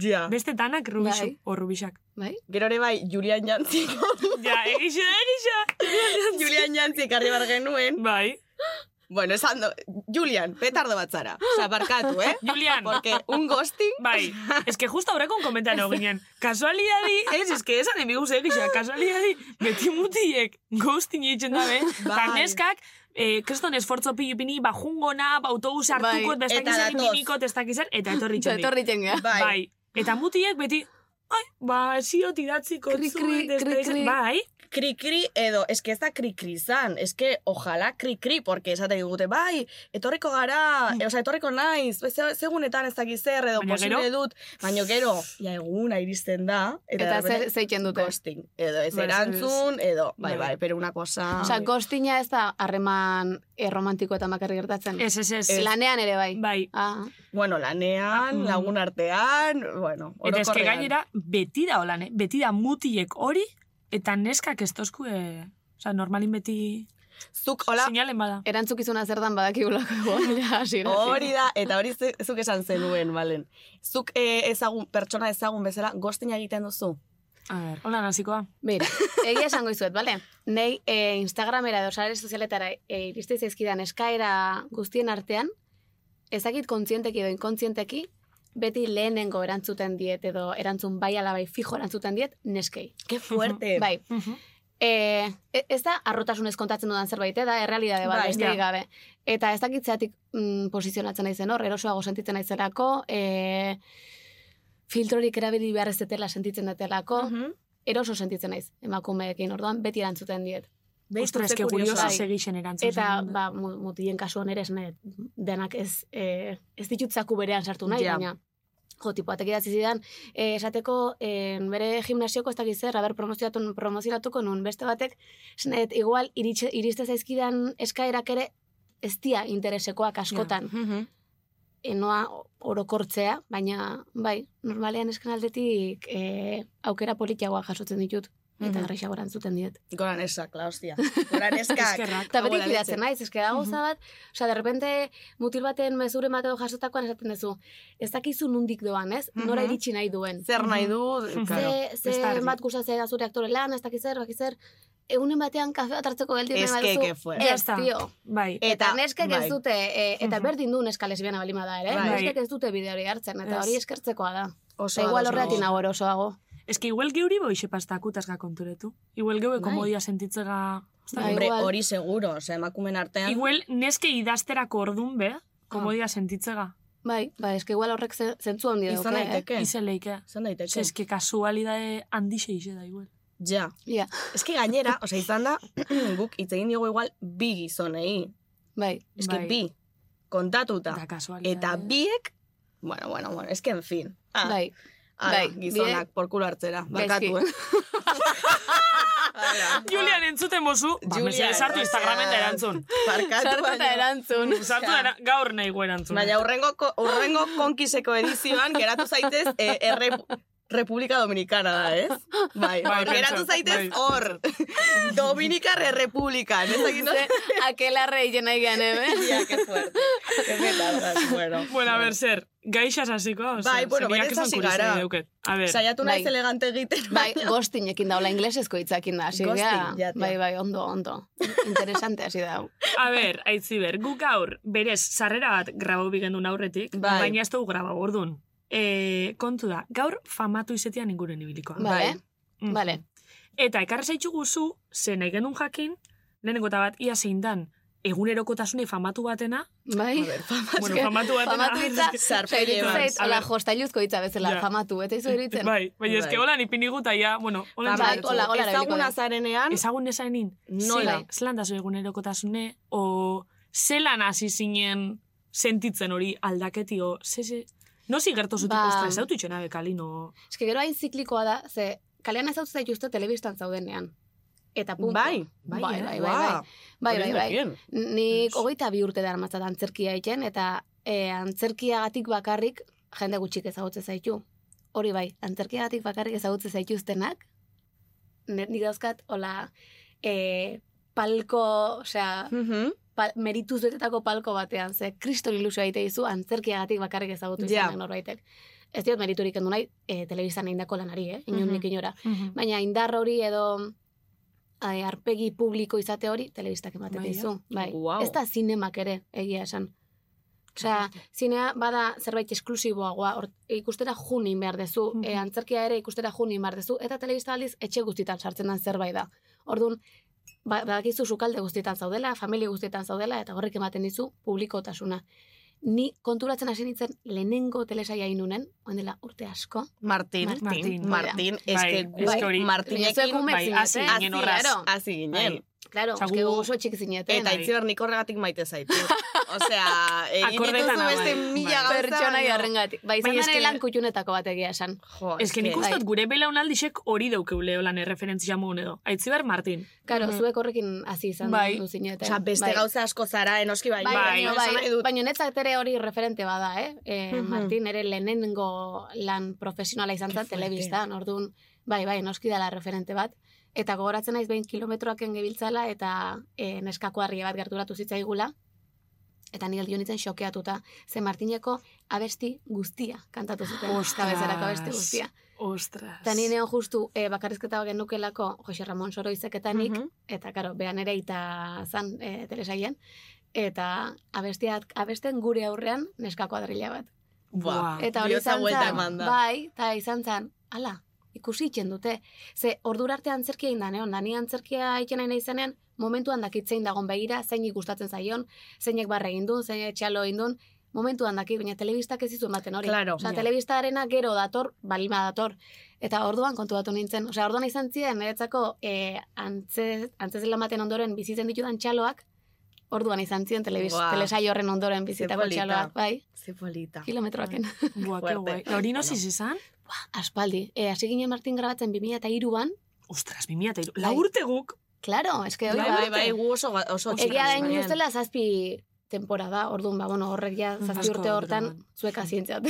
Ja.
Beste danak rubisu,
Bai.
o rubisak.
Bai?
Gero ere bai, Julian Jantzik,
Ja, egizu da, egizu.
Julian Jantzik harri bar genuen.
Bai.
Bueno, esan do, Julian, petardo bat zara. Osa, barkatu, eh?
Julian.
Porque un ghosting...
Bai, es que justo ahora con komentano ginen. Kasualidadi, ez, es que esan emigu zegisa, kasualidadi, beti mutiek ghosting egiten dabe, eta
Bai.
neskak, eh, kriston esfortzo pilipini, ba, jungona, ba, autobus hartuko,
Bai,
bai.
eta
bestakizan
datoz.
inimikot, bestakizan, eta etorri
Eta
txondik.
etorri txengea.
Bai.
Bai. Eta mutiek beti, ai, ba, ziot idatziko
Kri, kri,
zuen, ez da
kri,
izan-
kri.
bai,
Kri-kri edo, eske ez da kri-kri zan, eske ojalá kri-kri, porque esaten digute, bai, etorriko gara, e, osea, etorriko naiz, ze, segunetan ez dakit zer, edo
Baina
posible
gero?
dut, baina gero, ja eguna iristen da,
Eta
de
zer
repente,
zeiten dute.
Ghosting, edo ez
Bai,
erantzun, edo, bai,
Bai.
bai, pero una cosa...
Osa, gostina ez da harreman erromantiko eta makarri gertatzen.
ez, ez, ez.
Lanean ere bai.
Bai.
Ah,
bueno, lanean,
Mm.
lagun artean, bueno,
Eta eske
orokorrean.
gainera, beti da holan, eh? beti da mutiek hori, eta neskak ez tozkue, oza, normalin beti
Zuk, hola,
sinalen bada.
erantzukizuna zer dan badakigulako (laughs) igual, ja, hasiera.
Hori da, eta hori ze- zuk esan zenuen, balen. Zuk eh, ezagun, pertsona ezagun bezala, gostina egiten duzu.
A ber, hola nazikoa.
Bira, egia esango izuet, bale? Nei e, Instagramera edo sare sozialetara e, iriste zaizkidan eskaera guztien artean, ezakit kontzienteki edo inkontzienteki, beti lehenengo erantzuten diet edo erantzun bai ala bai fijo erantzuten diet neskei.
Ke fuerte.
Bai, e, e- ez da arrotasunez kontatzen dudan zerbait, eh, da errealidade bat
Bai,
besterik
ja.
gabe. Eta ez dakit zeatik mm, posizionatzen naizen hor, erosoago sentitzen naizelako, e, filtrorik erabili behar ez detela sentitzen detelako,
Mhm.
eroso sentitzen naiz emakumeekin, orduan beti erantzuten diet.
Ostra,
ze
eske
kurioso.
kuriosa
bai.
segixen erantzun.
Eta,
zenuen.
eh?
ba, mu- mutilen kasu ere esne, denak ez, e, ez ditut zaku berean sartu nahi,
Ja.
baina jo, tipo, atek idatzi zidan, eh, esateko, eh, bere gimnasioko ez dakit zer, aber promozionatu, promozionatuko nun beste batek, esnet, igual, iritxe, iriste zaizkidan eskaerak ere, ez dia interesekoak askotan.
Mhm.
Enoa orokortzea, baina, bai, normalean esken aldetik eh, aukera politiagoa jasotzen ditut, eta
Mhm.
mm erantzuten diet.
Gora neskak, la (laughs) hostia. Gora neskak.
Eskerrak.
Eta
Hau
beti
ala
fidatzen
ditzen.
naiz, eske da gauza bat, osea, de repente mutil baten mezure mateo jasotakoan esaten duzu, ez dakizu nundik doan, ez? Nora
Mhm.
iritsi nahi duen.
Zer nahi du, claro.
Ze, ze
ez da argi.
bat gustatzen da zure aktore lan, ez dakiz zer, bakiz zer, egunen batean kafea tartzeko geldi
Ez
nahi
que, que
baduzu.
fue.
Ya
Ez,
está.
tio.
Bai.
Eta
Eta,
neskek
bai.
ez dute, e, eta
Mhm.
berdin du neska lesbiana balima da, ere?
Bai.
Neskek ez dute bide hori hartzen, eta
Ez.
hori eskertzekoa da.
Oso
Eta igual
ados
horreatik
nago.
nago erosoago.
Eske igual geuri boixe pasta akutazga konturetu. Igual geue komodia sentitzega... ez da,
Bai.
Bai. Hombre,
Igual.
hori seguro, o sea, emakumen artean. Ah.
Igual neske idazterako ordun be, komodia sentitzega.
Bai, ba, eske igual horrek ze- zentzu handi eh? dauka.
Izan daiteke.
Ize leike.
Izan daiteke.
Zeske kasualidade handixe ize da igual.
Ja.
Eh? Ja,
Ez que gainera, osea, izan da, (clears throat) guk hitz egin diogu igual bi gizonei.
bai.
Ez que
Bai.
bi, kontatuta.
Da kasualidade.
Eta biek, bueno, bueno, bueno, ez que en fin. Ah,
Bai.
ala,
bai,
gizonak
biek-
por porkulu hartzera.
Gaizki.
Barkatu,
(laughs)
eh? Ala.
Julian entzuten bozu, ba,
Julian,
mesedez sartu
osea,
Instagramen da
(laughs)
erantzun.
Barkatu,
Sartu eta
baina.
erantzun.
Sartu da era- gaur nahi gu erantzun.
Baina urrengo, ko- urrengo konkiseko edizioan geratu zaitez eh, erre, Republika Dominicana da, ez? Bai,
Bai,
hor geratu
pentsa,
zaitez
bai.
hor. (laughs) Dominikar Errepublikan, ez
(laughs)
dakit nola?
Ze, Akelarre hilena igan,
(laughs)
eh?
Ja, que fuerte. Que petardas, bueno.
Bueno, a ver, zer, gaixas hasikoa, oza,
Bai, bueno, berez hasi gara.
A ver,
Saiatu naiz
Bai.
elegante egiten.
(laughs)
Bai, gostinekin daula, inglesezko hitzakin da, hasi
Ghosting,
gara.
ja, tia.
Bai, bai, ondo, ondo. Interesante hasi
(laughs)
da. hau.
a ver, aitziber, gu gaur, berez, sarrera bat grabau bigendun aurretik,
Bai.
baina ez dugu grabau ordun. E, kontu da, gaur famatu izetean inguren ibilikoa.
Bale,
Mm.
bale.
Eta ekarri zaitxugu zu, ze nahi genuen jakin, lehenengo eta bat, ia zein dan, egunerokotasunei famatu batena,
Bai. (laughs)
bueno,
que
famatu batena,
Famatu hitza,
Sarpe
saiatzen
llevan.
zait,
A
hola,
ver.
jostailuzko hitza bezala,
Ja.
famatu, eta izu eritzen.
bai, baina eske
Bai. Ba,
hola nipini guta, ja, bueno, hola
Bai,
nipini-
hola, hola, erabiliko
ezaguna
da.
zarenean,
ezagun esanin,
Nola?
Zela, zelan da zu egunerokotasune, o zelan hasi zinen sentitzen hori aldaketi, o ze, ze, no zigertu zutik,
Ba.
ostra, ez dautu itxena bekalin, o...
Ez que gero hain ziklikoa da, ze kalean ez hautu zaituzte telebistan zaudenean. Eta punto.
Bai.
bai,
Bai,
bai,
eh?
bai, bai. Bai, bai, bai. Nik hogeita bi urte darmatzat antzerkia egiten, eta e, antzerkiagatik bakarrik jende gutxik ezagutze zaitu. Hori bai, antzerkiagatik bakarrik ezagutze zaituztenak, ne- nik dauzkat, hola, e, palko, osea,
Mhm.
pa, merituz betetako palko batean, ze kriston ilusioa egite dizu antzerkiagatik bakarrik ezagutu
Ja.
izan den norbaitek. Ez diot meriturik endu nahi, e, telebizan egindako lanari, eh? inundik
Mhm.
inora. Baina indar hori edo ai, arpegi publiko izate hori, telebistak ematen
Bai,
dizu. Bai.
Guau.
Ez da zinemak ere, egia esan. Osea, zinea bada zerbait esklusiboagoa, hor, ikustera junin behar dezu,
Mhm.
e, antzerkia ere ikustera junin behar dezu, eta telebista aldiz etxe guztietan sartzen den zerbait da. Orduan, ba, badakizu sukalde guztietan zaudela, familia guztietan zaudela, eta horrek ematen dizu publikotasuna. Ni konturatzen hasi nintzen lehenengo telesaia inunen, ondela urte asko.
Martin.
Martin.
Martin. Martin.
Bai,
Ez que
ez que
gu
hori-
Martinekin
Emakume
bai,
zineten.
hasi
Hasi,
ginen horraz.
Claro,
hazi ginen.
claro
Osea,
eske
gu-
oso txik zineten.
Eta
Bai.
itziber nik horregatik maite zaitu.
(laughs)
Osea, egin
Akordetan
dituzu
nago,
beste
bai.
mila gauza.
pertsona
baino-
jarrengatik. Bai, izan
Baina
eske...
eske-
lan kutxunetako bat egia esan.
Jo,
Ez que nik
bai.
uste dut gure belaunaldixek hori daukeule holan erreferentzia mogun edo. Aitziber Martin.
Claro, zuek horrekin hasi izan
Bai.
du zineten.
Osea, beste
Bai.
gauza asko
eh,
zara, enoski bai.
Bai, baina,
baina esan nahi
bai,
dut.
baina netzat ere hori referente bada, eh? E,
Mhm.
Martin ere lehenengo lan profesionala izan
Ke
zen
fuerte.
telebistan, orduan, bai, bai, noski dela referente bat. Eta gogoratzen naiz behin kilometroak engebiltzala eta e, neskako harri bat gerturatu zitzaigula. Eta nire geldiu nintzen xokeatuta. Ze Martineko abesti guztia kantatu zuten.
Ostras.
Kabezarako abesti guztia.
Ostras.
Eta ni neon justu e, bakarrizketa genukelako Jose Ramon Soroizek eta nik,
Mhm.
eta karo, behan ere ita zan e, telesaian, eta abestiak, abesten gure aurrean neska kuadrilla bat.
Ba,
Buah.
Eta hori
bihotza
izan
buelta
zan,
eman da.
bai, eta izan zan, ala, ikusi itxen dute. Ze, ordura arte antzerkia egin da, neon, dani antzerkia egin nahi izanean, momentuan dakitzein dagon begira, zein ikustatzen zaion, zeinek barre egin duen, zeinek txalo egin duen, momentuan dakit, baina telebistak ez zuen baten hori.
Claro.
Osea,
Ja.
telebistarena gero dator, balima dator. Eta orduan kontuatu nintzen, osea, orduan izan ziren, niretzako e, antzez, antzezela maten ondoren bizitzen ditudan txaloak, orduan izan ziren telebiz,
Buah.
telesai horren ondoren bizitako
polita.
txaloak, bai,
Ze polita.
kilometroaken.
Buah,
Fuerte.
que guai. Eta Hori noz
Bueno.
izan?
Aspaldi, e, hasi ginen Martin grabatzen 2003an,
Ostras, 2000 eta hiru. Lau
Bai.
urte guk.
klaro, eske hori
Bai,
da.
bai, bai, gu oso, oso
Egia
Egia
txikiak
da
bai.
hain
ginen.
duztela zazpi temporada, orduan, ba, bueno, horrek ja zazpi
Asko
urte hortan
duraman.
zuek azientzat.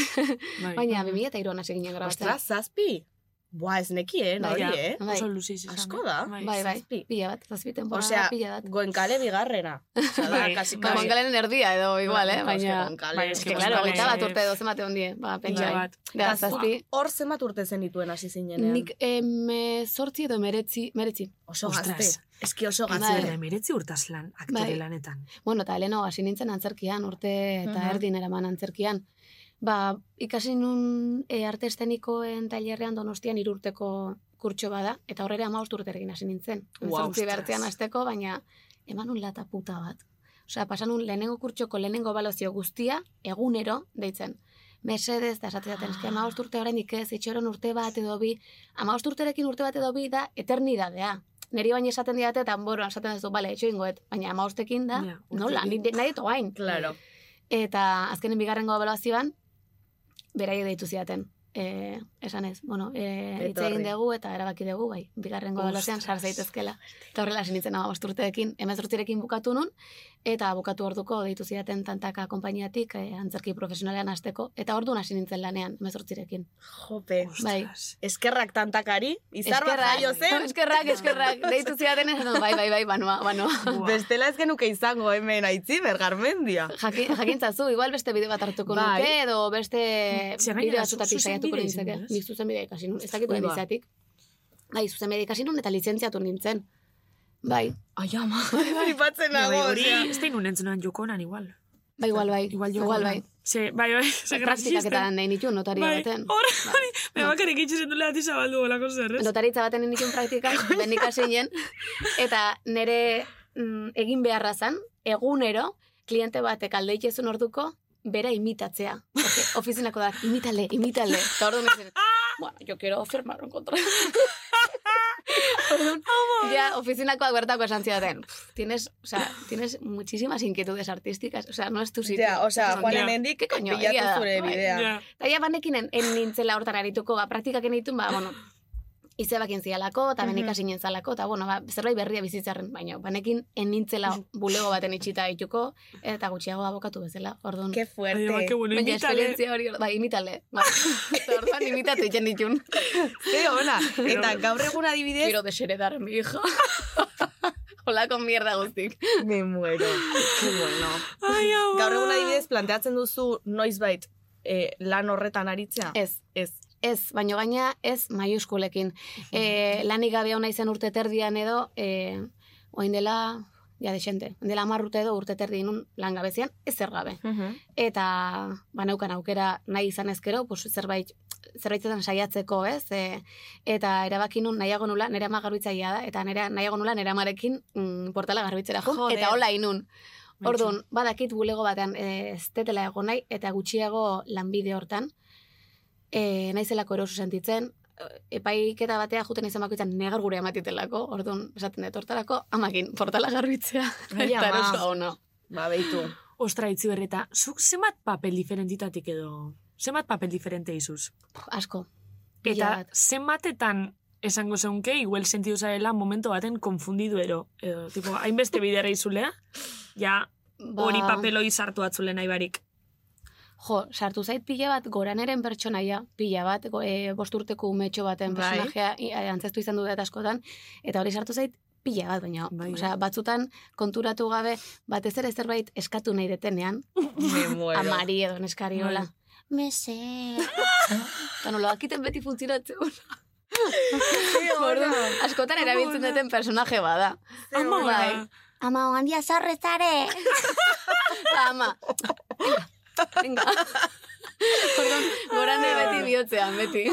Bai.
Baina 2003an hasi ginen grabatzen.
Ostras, zazpi? Buah, ez nekien,
Bai,
hori,
ja.
eh?
Bai.
Oso luziz izan.
Asko da.
Bai, bai,
zazpi.
pila bat, zazpi temporada,
Osea,
pila bat.
Goenkale bigarrena. Osea, da,
Bai,
kasi,
Ba,
kasi.
Gonkalen erdia edo igual,
Ba,
eh? Baina...
eske Gonkale.
Bai,
Es
eske
que, claro,
Gonkale-
hogeita bat urte edo zenbat egon die. Ba, pentsa
Pila
bai.
bat.
Da,
Eta zu-
zazpi.
Hor zenbat urte zenituen hasi zinenean?
Nik eme sortzi edo emeretzi, meretzi.
Oso
Ostras.
gazte. Ez ki oso
Bai.
gazte.
Zerra emeretzi urtaz lan, aktore
Bai.
lanetan.
Bueno, eta heleno hasi nintzen antzerkian, urte eta
Mhm.
erdin eraman antzerkian. Ba, ikasi nun e, arte estenikoen tailerrean donostian irurteko kurtso bada, eta horrela ama urterekin hasi nintzen.
Ua,
Wow,
ostras.
bertzean azteko, baina eman un lata puta bat. Osea, pasanun lehenengo kurtsoko lehenengo balozio guztia, egunero, deitzen. Mesedez, da esatzen zaten,
Ah.
eski amagost urte oraindik ez, itxoron urte bat edo bi, amagost urterekin urte bat edo bi da eternidadea. Neri baina esaten didate, tamboroan esaten duzu, bale, etxo ingoet, baina amagostekin da,
Ja, urte
nola,
bi.
ni- nahi dut oain.
Claro.
Eh. Eta azkenen bigarrengo ebaluazioan, beraiek deitu zidaten. E, esan ez, bueno, e, hitz egin
Etorri.
dugu eta erabaki dugu, bai, bigarrengo ebaluazioan sar zaitezkela. Eta horrela sinitzen hau urteekin, emezortzirekin bukatu nun, eta bukatu orduko deitu zidaten tantaka konpainiatik e, antzerki profesionalean hasteko, eta orduan hasi nintzen lanean emezortzirekin.
Jope.
Bai.
Eskerrak tantakari, izar bat jaio zen.
(laughs) eskerrak, eskerrak, deitu zidaten esan, dut, bai, bai, bai, banua, banua.
Bestela ez genuke izango hemen aitzi, bergarmendia.
Jakin, jakintzazu, igual beste bideo bat hartuko
Bai.
nuke, edo beste
Ze gainera, zu-
bideo batzuetatik saiatuko
zuzenbide izan
nintzake.
dira, ez?
Nik zuzenbidea ikasi nun, ez dakit
Ui,
nuen
ba.
izatik. Bai, zuzenbidea ikasi nun eta lizentziatu nintzen. Bai,
Ai, ama. Flipatzen
Ja,
nago.
bai, hori,
osea.
ez da inun entzunan jokonan, igual.
bai, igual bai.
Igual jokonan.
igual bai.
Ze, bai, bai, ze
Praktikak eta
gracista.
lan nahi nituen notaria
Bai,
baten.
hor,
Bai.
me bakarrik itxesen dule ati zabaldu bolako zer, ez?
Notaritza baten nituen praktikak, ben ikasinen, eta nire mm, egin beharra zan, egunero, kliente batek alde itxezun orduko, bera imitatzea. Porque ofizinako da, imitale, imitale. Eta orduan ez dut, bueno, yo quiero firmar un contrato. Orduan, ja, ofizinakoak bertako esan zidaten. "Pff, Tienes, o sea, tienes muchísimas inquietudes artísticas. O sea, no es tu sitio.
Ja, osea,
Esan
Juanen
zidan,
hendik
Bai. "Ke coño, egia da,
bilatu zure
bai.
bidea.
Ja.
Eta ja banekin en, en nintzela hortan arituko, ba, praktikak egiten, ba, bueno, izebakin zialako, eta benik hasi nintzalako, eta, bueno, ba, zerbait berria bizitzarren, baina, banekin en nintzela bulego baten itxita dituko, eta gutxiago abokatu bezala, orduan.
Qué
Ai,
bai,
ba,
fuerte.
que bueno,
Baina
imitale.
esperientzia hori, bai, imitale. Bai. Eta orduan imitatu egiten ditun.
Ze ona.
(laughs)
Eta gaur egun adibidez,
Quiero desheredar mi (laughs) hija. Olako mierda guztik.
me muero. Qué bueno.
Ai, ama.
Gaur egun adibidez, planteatzen duzu noizbait eh, lan horretan aritzea?
Ez,
Ez.
Ez, baino gaina ez maiuskulekin. E, lanik gabe hona izan urte terdian edo, e, oin dela, ja desente, oin dela amar urte edo urte terdi nun lan gabe zian, ezer gabe. Eta, ba, neukan aukera nahi izan ezkero, pues, zerbait, zerbaitetan saiatzeko, ez? E, eta erabaki nun nahiago nula, nire ama garbitzaia da, eta nire nahiago nula nire amarekin mm, portala garbitzera jo,
Joder.
eta hola inun. Orduan, badakit bulego batean e, ez tetela egon nahi, eta gutxiago lanbide hortan, e, naizelako eroso sentitzen, e, epaiketa batea juten izan bakoitzan negar gure amatitelako, orduan, esaten dut, hortarako, amakin, portala garbitzea,
Ai, ama.
eta erosoa ona.
Ba, beitu.
Ostra, itzi berreta, zuk zenbat papel diferentitatik edo, zenbat papel diferente izuz?
Puh, Asko. Pila
Eta
bat.
zenbatetan esango zeunke, igual sentidu zarela momento baten konfundidu ero. Edo, tipo, hainbeste bidera izulea, ja,
Ba,
hori papeloi sartu atzule nahi barik.
Jo, sartu zait pila bat, goraneren pertsonaia, pila bat, go, e, bosturteko umetxo baten
Bai.
personajea, i- antzestu izan dut askotan, eta hori sartu zait pila bat, baina,
Bai,
osea, batzutan konturatu gabe, batez ere zerbait eskatu nahi detenean, (laughs)
Me muero.
amari edo neskari
Bai.
hola. Mese. Eta nola dakiten beti funtzionatzen.
(laughs)
Orduan, askotan erabiltzen duten personaje bada.
Ama,
bai.
ona.
Ama, oandia zarretare.
Ba, ama.
(laughs)
Venga. (laughs) Venga. Orduan, goran beti bihotzean, beti.
Qué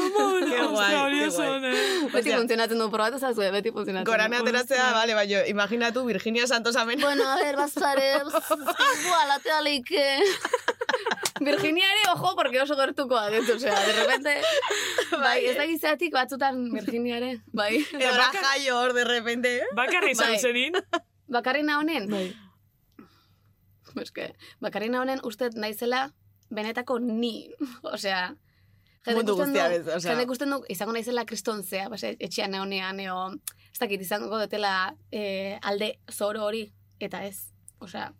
guai,
Ona, (laughs) ostra, hori
qué
oso
guai.
ona, eh.
Beti
Osea,
funtzionatzen du, probatu zazue, beti funtzionatzen
Gorane
du.
ateratzea, bale, baina imaginatu Virginia Santos amen. (laughs)
Bueno, a eh, ver, (laughs) bazare, zingua latea leike. Virginia ere, ojo, porque oso gertukoa dut, osea, de
(laughs)
repente... Bai, ez da
eh.
gizatik batzutan Virginia ere,
(laughs)
bai.
Edora jaio hor, de repente. eh.
Bakarra izan
Bai.
zenin,
Bakarrena honen? Bai. Eske, bakarrena honen uste dut naizela benetako ni, osea... jende
Mundu
ikusten
guztia
du-
bez, osea.
Jende ikusten du, izango naizela kriston zea, base, etxean egonean, eo, ez dakit izango dutela eh, alde zoro hori, eta ez. Osea,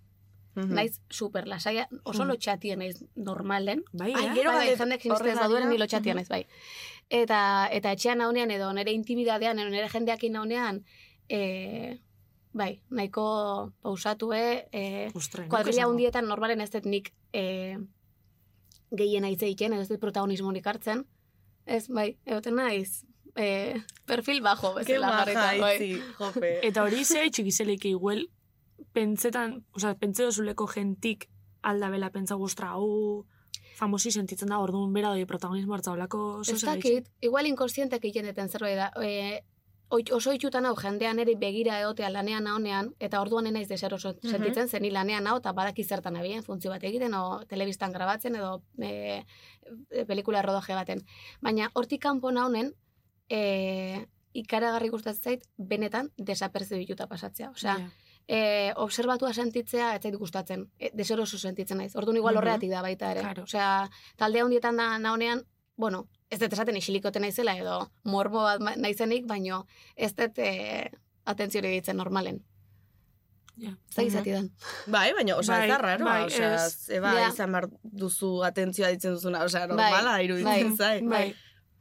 naiz super lasaia, oso lotxatia naiz normalen,
Bai,
Ai,
eh?
gero
bai, bai,
galde-
jendeak sinisten ez
horren
baduen,
harira.
ni lotxatia naiz, bai. Eta, eta etxean naunean edo nire intimidadean, edo nire jendeakin naunean, e, bai, nahiko pausatue, e,
Ostra, nik
kuadrilla
esango.
hundietan normalen ez dut nik e, gehien aitze egiten, edo ez dut protagonismonik hartzen. Ez, bai, egoten naiz, e, perfil bajo,
Ke
bezala
maja,
jarrita, bai.
itzi,
(laughs)
jope.
Eta hori ze txikizelik iguel, pentsetan, oza, pentse dozuleko gentik aldabela pentsa guztra, hau, famosi sentitzen da, orduan bera doi protagonismo hartza olako,
Ez dakit, igual inkonsientek egiten deten zerbait da. E, oit- oso itxutan hau jendean ere begira egotea lanean honean, eta orduan ez naiz deser oso
Mhm.
sentitzen, zeni lanean hau, eta badaki zertan abien, funtzio bat egiten, o telebistan grabatzen, edo e, e, pelikula rodaje baten. Baina hortik kanpo honen, e, ikaragarri gustatzen zait, benetan desaperzibituta pasatzea. Osea,
Ja.
e, obserbatua sentitzea ez zait gustatzen, e, deseroso sentitzen naiz. Orduan igual
Mhm.
horreatik da baita ere.
Claro.
Osea, talde handietan da nahonean, bueno, ez dut esaten isilikote naizela edo morbo bat ma- naizenik, baino ez dut e, atentzioa ditzen normalen.
Ja.
Ez da
Mhm.
gizatidan.
Bai, baina, osea, ez
Bai,
da raroa,
bai,
osea,
ez.
zeba,
Ja.
izan behar duzu atentzioa ditzen duzuna, osea,
Bai,
normala, iruditzen
bai,
zait.
bai.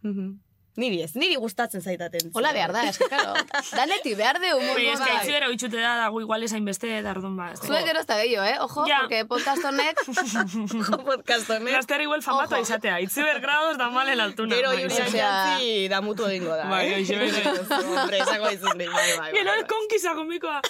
Mhm. Niri ez, niri gustatzen zait atentzioa.
Hola behar da, eske, claro. Daneti behar de humor.
Bai,
Baina eska itzibera oitxute da dago igual esain beste eta orduan ba. ez
bai. Zuek
dago.
gero ez da gehiago, eh? Ojo,
Ja.
porque podcast honek
Jo, (laughs) podcast honek.
Laster igual famatua
Ojo.
izatea, itziber grados da malen altuna.
Gero
Bai,
Julian
Osea-
bai.
Jantzi damutu egingo da.
Bai,
eh? (laughs)
hoxe, hoxe.
Hombre, esango dizut nik, bai, bai,
Gero
bai, bai.
konkisa gomikoa.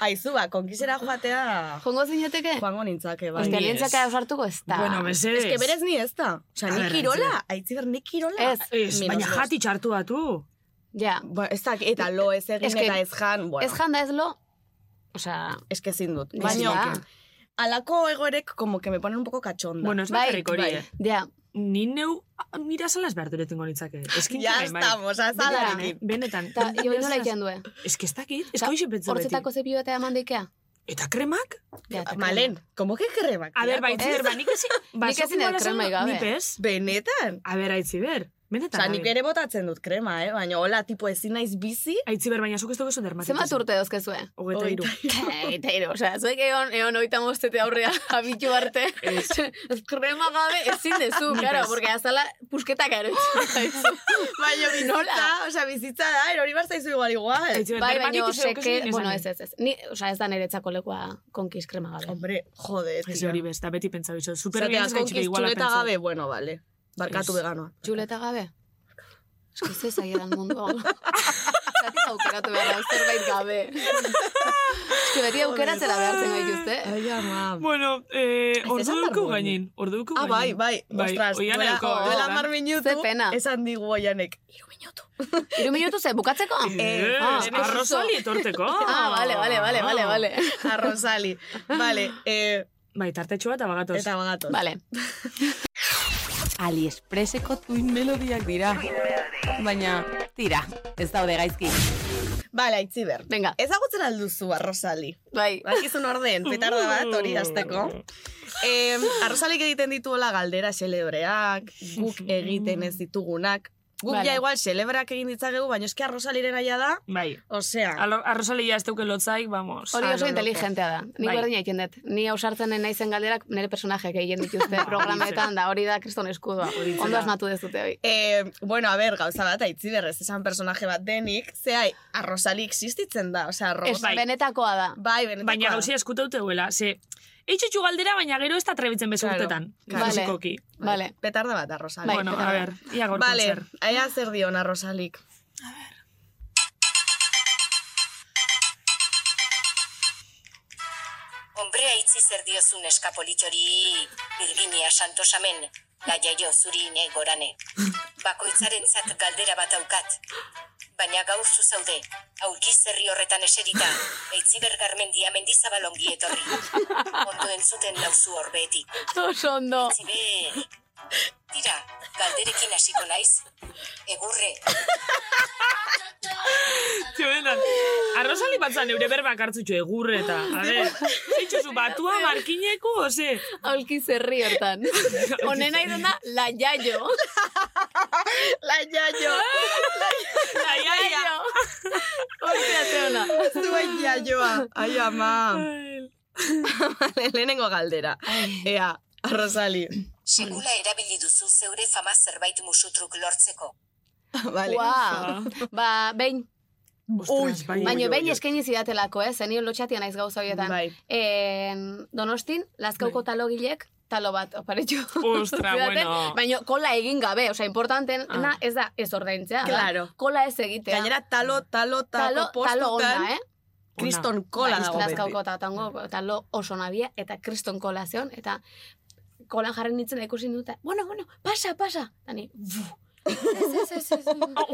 Aizu, ba, konkisera joatea
jongo zinateke.
joango nintzake, bai.
Ostia,
Ni ez.
lientzaka ausartuko Ba, ez da.
Bueno, mesedes.
Ez que berez ni ez da. Osa,
A
ni
ver,
kirola, aitziber, ni kirola.
Ez,
Ez,
Minus
baina
bost.
jati txartu batu.
Ja.
Ba, ez da, eta lo ez egin
Ez que-
eta ez jan, bueno,
Ez janda ez lo, osea,
ez que ezin dut.
Ez
Baina,
da.
alako egoerek como que me ponen un poco cachonda.
Bueno, ez
Bai,
bakarrik hori.
bai.
eh.
ja,
Ni neu, ah, nira zala ez behar duretengo nitzake. Eskin
ya estamos, azalarekin.
eh? Benetan.
(laughs) eta jo nola
Ez-
egiten du, eh?
Ez que ez dakit, ez
Osea,
hoxe pentsa beti.
Hortzetako zepio eta eman deikea?
Eta kremak?
Ja, eta
Malen, como que kremak?
A ber,
bai.
baitzi ber, ba, nik ezin... Ba,
(laughs) Nik ezin
soku
dut
gola zen,
krema gabe.
Ni pez.
Benetan.
A ber, aitzi ber. Benetan.
Osa,
gabe.
nik ere botatzen dut krema, eh? Baina, hola, tipo, ezin naiz bizi.
Aitzi ber, baina zuk ez dugu
krema.
dermatitis.
Zenbat urte dozkezue?
Hogeita
(laughs)
iru.
(laughs) Eta ero, osea, zuek egon, egon oita mostete aurrea (laughs) abitu arte, (laughs) krema gabe ezin dezu, karo, porque azala pusketak ero. (laughs)
Baina, bizitza,
Nola?
osea, bizitza da, erori bar zaizu igual, igual.
Aitzi ber,
Bai, baina
dermatitis edo
seke,
kesin
bueno,
esan.
ez ez ez. Ni, osea, ez da niretzako lekua konkiz krema gabe.
Hombre, jode, ez
Ez hori bez, da beti pentsa bitxo. Super bien
Zatea,
ez gaitxik
konkiz
iguala
txuleta
pentsa.
gabe, bueno, vale. Barkatu
Ez.
veganoa.
Txuleta gabe? Ez que ez aiedan mundu (laughs) hau. Zatik aukeratu behar da, zerbait gabe. Ez que beti aukeratzera behartzen gaituzte.
Ai, ama.
Bueno, eh,
Ez
ordu
esan
duku
barruan.
gainin. Ordu duku
Ah, bai, bai,
Bai,
ostras,
oian
duela, oh,
daukagu,
duela
eh?
mar minutu,
Ze pena.
esan digu oianek. Iru minutu.
Iru minutu ze, bukatzeko?
Eh,
ah,
arrozali etorteko.
Ah, vale, vale, vale, vale, vale.
(laughs) A Rosali. Vale, eh,
Bai, tartetxoa eta bagatoz.
eta bagatos.
Vale.
Aliexpreseko tuin melodiak dira. Baina, tira, ez daude gaizki.
Vale, aitziber.
Venga,
Ezagutzen alduzu, Arrosali.
bai.
Bakizun orden, petarda bat,
Uh.
hori azteko. Eh, Arrosalik egiten dituola galdera xelebreak,
(laughs)
guk egiten ez ditugunak. Guk
Vale.
ja igual xelebreak egin ditzakegu, baina eski Arrosaliren aia da,
Bai,
osea,
Alo- arrozali ja ez teuke lotzaik, vamos.
Hori oso
Alo,
inteligentea da. Ni
Bai.
berdin egiten dut. Ni ausartzen naizen galderak nire personajeak egiten dituzte programetan da. Bai. Hori da kriston eskudoa. Ondo asmatu dezute hoi.
Eh, bueno, a ber, gauza bat, aitziberrez, esan personaje bat denik, ze hai, arrozali existitzen da, osea,
Ez,
robota.
bai.
benetakoa da.
Bai, benetan.
Baina gauzi eskutaute duela, ze... Eitxutxu galdera, baina gero ez da trebitzen
Claro,
bezurtetan.
claro.
Claro,
Vale.
Fizikoki.
Vale.
Petarda bat, arrozali.
Bai,
bueno,
eta-
a ber, ia gaur
vale,
zer.
aia zer dion arrozalik.
Hombre aitzi zer diozun eskapolitxori Virginia Santosamen Gaiaio zuri ne gorane Bakoitzaren zat galdera bat aukat Baina gaur zuzaude Aulkiz herri horretan eserita Eitziber garmendia mendizabalongi etorri Ondo entzuten nauzu horbeetik
(laughs) Oso ondo.
Eitziber Tira, galderekin hasiko naiz Egurre,
Tio, benetan, Arrozali bat zan eure berbak hartzutxo egurre eta, a ber, eitxutxu batua markineku, ose,
Aulki zerri
(laughs)
hortan. Honena izan da, la jaio.
La jaio,
aia, aia. (laughs)
Hortia zeona.
zuen jaioa. Ai, ama. Vale, lehenengo galdera. Ea, arrozali.
sekula erabili duzu zeure fama zerbait musutruk lortzeko
Vale.
Wow. Ba, behin.
Ostras, bai.
Baina behin eskaini zidatelako, eh? Zeni lotxatia naiz gauza horietan.
Bai.
en, donostin, lazkauko talogilek, talo bat, oparetxu. (laughs)
Ostra, bueno.
eh. Baina kola egin gabe, osea, importantena
Ah.
ez da ez ordaintzea. da.
Claro.
Kola ez egitea.
Gainera, talo, talo, talo,
talo, talo ona, eh?
Kriston kola
Bai,
dago beti.
Lazkauko tatango, talo oso nabia, eta kriston kola zeon, eta kolan jarri nintzen da ikusi dut, bueno, bueno, pasa, pasa. Tani, buf, Ez, ez, ez, ez.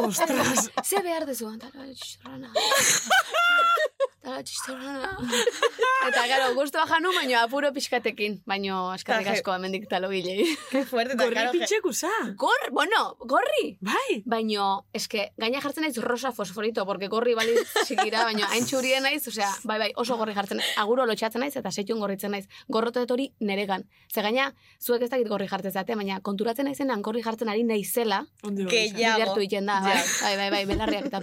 Ostras!
(laughs) Ze behar dezu, tala txorrana. Tala txorrana. Eta gara, guztua janu, baino apuro pixkatekin. Baino eskarrik
Kaje.
asko hemendik talo hilei.
Qué fuerte, eta
Gorri
claro, je-
pintxek usa.
Gor, bueno, gorri!
Bai.
Baino, eske, gaina jartzen naiz rosa fosforito, porque gorri bali txikira, baino hain txurien naiz, osea, bai, bai, oso gorri jartzen naiz, aguro lotxatzen naiz, eta setxun gorritzen naiz, gorrote dut hori neregan. Ze gaina, zuek ez dakit gorri jartzen zate, baina konturatzen naizenan gorri jartzen ari naizela,
Ondo
Que
izan.
ya- Dago.
bidertu egiten da, bai,
Ja.
bai, bai, bai, belarriak (laughs) eta...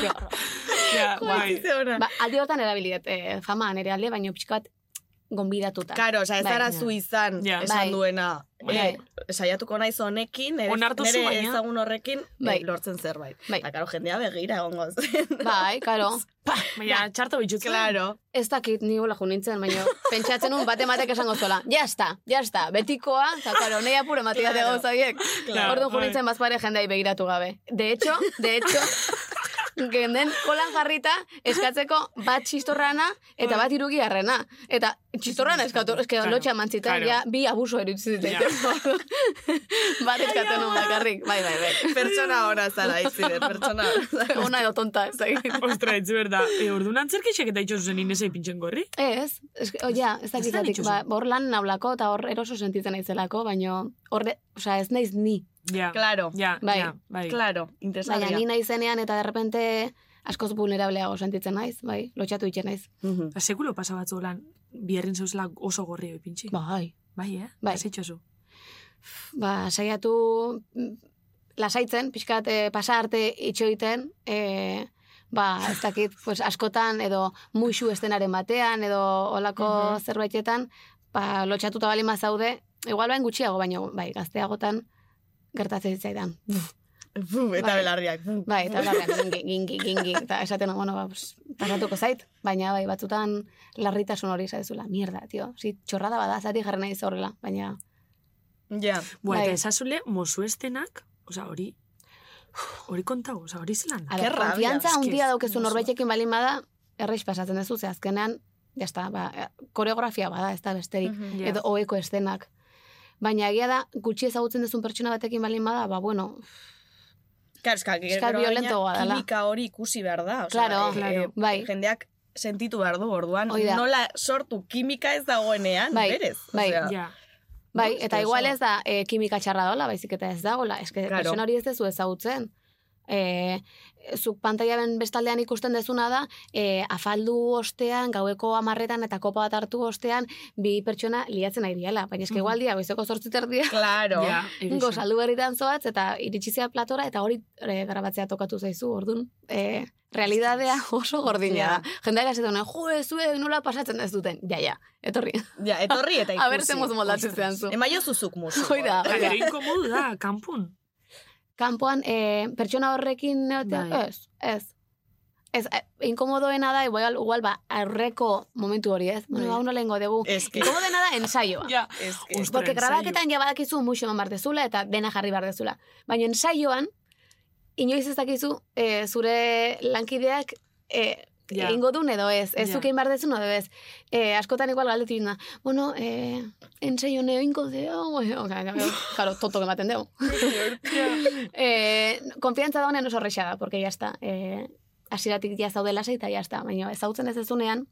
Ke horror.
Ja,
Bai.
bai.
ba, alde hortan erabiliet, eh, fama nere alde, baino pixka bat gonbidatuta.
Claro, oza, ez
Bai,
dara
ja.
zu izan
Ja.
esan
Bai.
duena.
Bai.
Eh, saiatuko naiz honekin, nere,
Onartu zu,
nere
baina.
ezagun horrekin eh,
Bai.
lortzen zerbait.
Bai.
Eta, karo, jendea begira egongo (laughs) zen.
Bai, karo.
Baina, txarto bitxuk.
Claro.
Ez dakit ni hola junintzen, baina pentsatzen un bate matek esango zola. Ja está, ja está, betikoa, eta karo, nahi apuro matia
Claro.
claro. gauza biek.
Claro,
Orduan
bai.
junintzen bazpare jendai begiratu gabe. De hecho, de hecho, genden kolan jarrita eskatzeko bat txistorrana eta bat irugiarrena. Eta txistorrana eskatu, eske
Claro.
claro. lotxa mantzita,
Claro.
ja, bi abuso erutzi
Ja.
yeah. (laughs) bat eskatu nun
(laughs)
bakarrik, bai, bai, bai.
Pertsona hona zara, izide, pertsona hona.
(laughs)
Ona edo tonta, ez dakit.
Ostra, etxe berda. E, orduan antzerkixek eta itxo zuzen Inesei pintxen gorri?
Ez, ez, o, ja, ez
Ez da
dakitatik,
itxoso.
ba, hor lan naulako eta hor eroso sentitzen naizelako, baino, hor, de- osea, ez naiz ni.
Ja,
Claro,
ja,
Bai.
ja, bai.
claro,
Baina, ni
interesgarria.
naizenean eta derrepente askoz vulnerableago sentitzen naiz, bai, lotxatu iten naiz.
Mhm.
Ta Sekulo Ba, pasa batzu lan, biherrin zeuzela oso gorri hori pintxi.
Bai.
Bai, eh?
Bai.
Ez itxosu.
Ba, saiatu mm, lasaitzen, pixkat eh, pasa arte itxoiten, eh, ba, ez dakit, pues, askotan, edo muixu estenaren batean, edo olako
Mhm.
zerbaitetan, ba, lotxatuta bali mazaude, igual bain gutxiago, baino, bai, gazteagotan, gertatzen zitzaidan.
Bum, Eta
Bai.
belarriak. bum. (laughs)
Bai, eta horrean, gingi, gingi, gingi, eta esaten, bueno, ba, pues, pasatuko zait, baina bai, batzutan larritasun hori zaizula, mierda, tio, si, txorrada bada, zati jarri nahi horrela, baina,
Ja.
Bua, eta
Bai.
ezazule, mozu estenak, oza, hori, hori kontago, oza, hori zelan.
a
Qué
ber,
rabia,
konfiantza
eske,
handia daukezu
oso.
norbaitekin balin bada, erreiz pasatzen duzu, ze azkenean, jazta, ba, eh, koreografia bada, ez da besterik,
Mhm.
Ja.
edo oeko estenak. Baina egia da, gutxi ezagutzen duzun pertsona batekin balin bada, ba, bueno,
Claro, eska,
Eska
gero
violentoa
gaina
dela.
kimika hori ikusi behar da. osea,
Claro,
eh,
claro,
eh,
bai.
Jendeak sentitu behar du orduan.
Hoi da.
Nola sortu kimika ez dagoenean,
Bai,
berez.
bai.
osea.
Ja,
Bai,
Bai,
eta
oso.
igual ez da e, kimika txarra dola, baizik eta ez dagola. Ez que
Claro.
pertsona hori ez dezu ezagutzen. E, zuk pantaiaren bestaldean ikusten dezuna da, e, afaldu ostean, gaueko amarretan eta kopa bat hartu ostean, bi pertsona liatzen ari diala. Baina eske igual dia, goizeko zortziterdia,
Claro.
ja, egia esan.
gozaldu berritan zoaz, eta iritsizia platora, eta hori e, grabatzea tokatu zaizu, ordun E, realidadea oso gordina da. Jendeak esaten duen, jo, zuek nola pasatzen ez duten. Ja, ja, etorri.
Ja, etorri
(laughs)
eta ikusi.
Aber zemoz moldatzen zean zu.
Emaio zuzuk
(laughs)
musu.
Hoi da, hoi da.
Gero inkomodu da, kanpun.
kanpoan e, pertsona horrekin egotea,
Bai.
ez, ez. Ez, e, inkomodoena da, igual, igual ba, aurreko momentu hori, ez? Bueno,
Bai.
hau nolengo dugu.
Ez eh. que-
Inkomodoena da, ensaioa.
Ja,
Eske.
Ostras,
Porque
ensaio.
grabaketan ja badakizu muxo eman behar dezula eta dena jarri behar dezula. Baina ensaioan, inoiz ez dakizu e, zure lankideak e,
Ja.
ingo duen edo ez, ez
Ja.
zuk egin behar dezun edo ez. E, askotan igual galdetu dina, bueno, e, ensaio oh, neo ingo deo, (laughs) karo, totok ematen deo. e, konfiantza daunen oso horrexa da, porque jazta, e, asiratik ja zaude lasai eta jazta, baina ezautzen ez dezunean,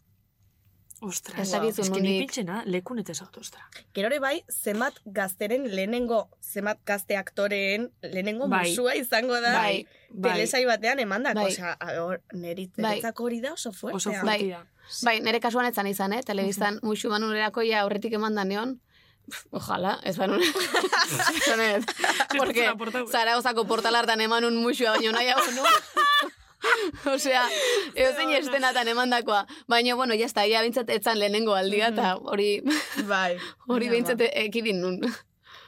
Ostras,
ez
ez
dakizu
que ni
nondik.
pintxena, lekun eta zaut, ostra.
Gero ere bai, zenbat gazteren lehenengo, zenbat gazte aktoreen lehenengo
Bai.
musua izango da.
Bai,
Telesai batean emandako,
Bai.
osea, hor, neri,
Bai.
niretzako hori da oso fuertea.
Oso
Bai.
fuertia.
Bai, nire kasuan etzan izan, eh? Telebistan muxu manunerako ja aurretik eman da neon. Pff, Ojalá, ez banun. (laughs) Zanet, porque
Zertara portau.
Zarauzako portalartan eman un muxua, baino nahi hau (laughs) nu. Osea, eusen estenatan emandakoa. Baina, bueno, jazta, ia bintzat etzan lehenengo aldia, eta hori,
(laughs) Bai.
hori
Baina,
bintzat ekidin nun.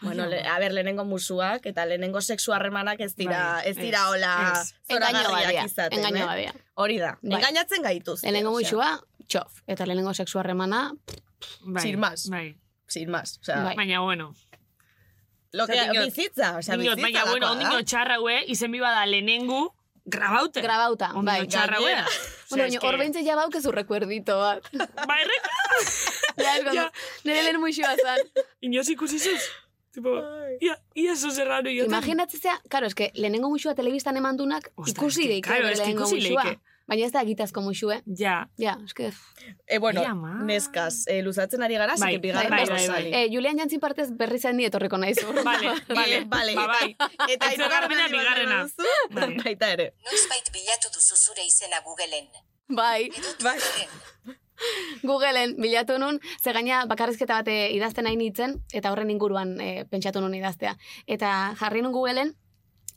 Bueno, le, a ber, lehenengo musuak eta lehenengo sexu harremanak ez dira,
Bai,
ez dira
ez,
hola
ez.
Engaino
zoragarriak
badia,
izaten.
engaino
eh?
badia.
Hori da,
Bai.
engainatzen gaituz.
Lehenengo muxua, txof. Eta lehenengo sexu harremana,
Bai,
Sin más.
Bai.
Sin más, osea,
Bai.
Baina, bueno.
lo que
Osea, diñot-
bizitza, osea,
Diñot,
bizitza.
baina, bueno, ondino txarra hue, izen biba da lehenengu, grabaute.
grabauta,
Ondino
bai.
txarra hue. (laughs)
Gainera.
Bueno, baina, hor behintzat ja baukezu rekuerdito bat.
Bai, reka. (laughs)
Ja, ez gondo. Nire lehen muixua zan.
Inoz ikusi zuz. Tipo, ia, ia zuzerrano joten.
Imaginatzea, karo, eske, lehenengo muxua telebistan eman dunak,
Ostra,
ikusi
eske,
deike,
claro,
bere
eske
lehenengo
ikusi
muxua.
leike.
Baina ez da egitazko muxue.
Ja,
Ja, eske...
E, bueno,
Ia, ma.
neskaz, eh, luzatzen ari gara,
Bai,
zikin bigarren
bai,
bai,
bai, bai.
Eh, Julian Jantzin partez berri zain ni etorriko naiz.
vale, vale.
(laughs) vale.
Ba, bai.
Eta
Etxe garbena
hirugarren
bigarrena.
aldi bat
Bai.
duzu, (laughs) Baita ere.
Noizbait bilatu duzu zure izena Googleen.
(laughs) Bai,
Bai.
Googleen bilatu nun, ze gaina bakarrizketa bate idazten nahi nintzen, eta horren inguruan eh, pentsatu nun idaztea. Eta jarri nun Googleen,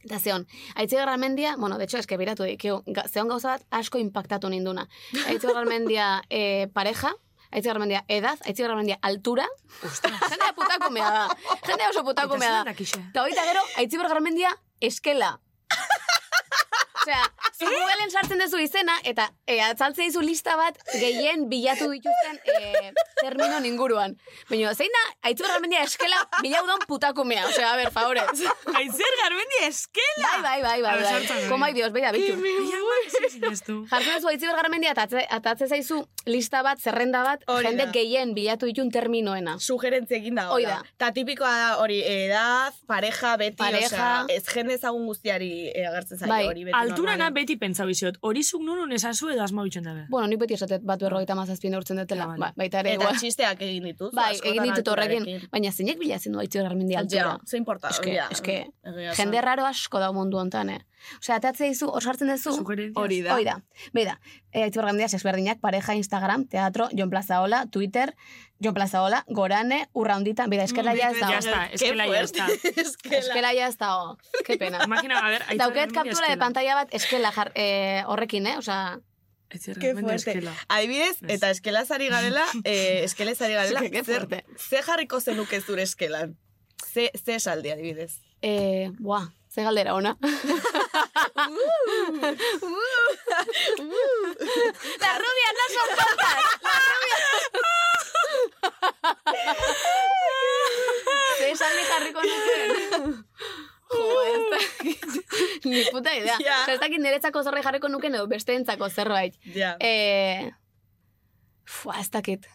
eta zeon, aitzi garramendia, bueno, de hecho, eske biratu dikiu, ga, zeon gauza bat asko impactatu ninduna. Aitzi garramendia (laughs) eh, pareja, Aitzi garramendia edad, aitzi garramendia altura. Jendea putakumea da. Jendea oso
Eta
putakumea da.
zuen dakixe.
Eta horita gero, aitzi bergarmendia eskela. Osea, zu Googleen sartzen duzu izena, eta e, atzaltze dizu lista bat gehien bilatu dituzten e, terminon inguruan. Baina, zein da, aitzi bergarmendia eskela bilaudon putakumea. Osea, a ber,
(laughs)
favorez.
Aizer garbendi eskela!
Bai, bai, bai,
A
bai.
ber, sartzen
bai.
ari.
Komai dios, beira, bitu.
Ia, bai, ezin sinestu. (laughs)
Jartzen duzu aitzi bergarmendia, eta atze- eta atze zaizu lista bat, zerrenda bat,
Hori da.
jende gehien bilatu ditun terminoena.
Sugerentzia egin da.
Hoi
Hoi
da.
Ta tipikoa da hori, edad, pareja, beti,
Pareja.
osea, ez jende ezagun guztiari eh, agertzen zaio
Bai.
hori beti.
Alturana
normalean.
beti pentsa bizot, hori zuk nunun esazu edo asma bitxen dabe.
Bueno, ni beti esatet bat berrogeita mazazpien urtzen dutela.
Ja, vale.
Ba, baita ere,
Eta
igual.
txisteak egin dituz.
Bai,
askotan
egin ditut horrekin.
alturarekin.
Baina zeinek bilatzen du aitzi garramendi altura.
Ja, ze importa.
Eske-
ja,
eske,
egia esan.
Jende raro asko da mundu hontan, eh? Osea, atatze dizu, hor sartzen duzu,
Sugerencias.
Hori da.
hoi da. Beida, e, aitzi garramendiaz ezberdinak, pareja, Instagram, teatro, Jon Plazaola, Twitter, Jon Plazaola, gorane, urra hundita, beida, eskela ja ez
Ya
da.
está,
Qué
eskela ya está.
(laughs) fuerte, eskela.
Eskela ja ez da, que
(laughs)
pena.
Imagina, a ver, Aizer
Dauket kaptura de pantalla bat eskela jar, eh, horrekin, eh? Osea,
Aizer
Qué
garbendi
fuerte.
eskela.
Adibidez,
Ez.
eta eskelaz ari garela,
(laughs)
eh, eskelez ari garela,
Qué
zer,
fuerte.
ze jarriko zenuke zure eskelan? Ze, ze esaldi adibidez?
eh, buah, ze galdera ona. Uh. Las rubias no son tontas. Las rubias. Ze esaldi jarriko nuken. Jo, ez dakit. (laughs) Ni puta idea.
Ja.
Osea, Ez dakit niretzako zerbait jarriko nuken edo besteentzako zerbait.
Ja.
Eh, fua, ez dakit.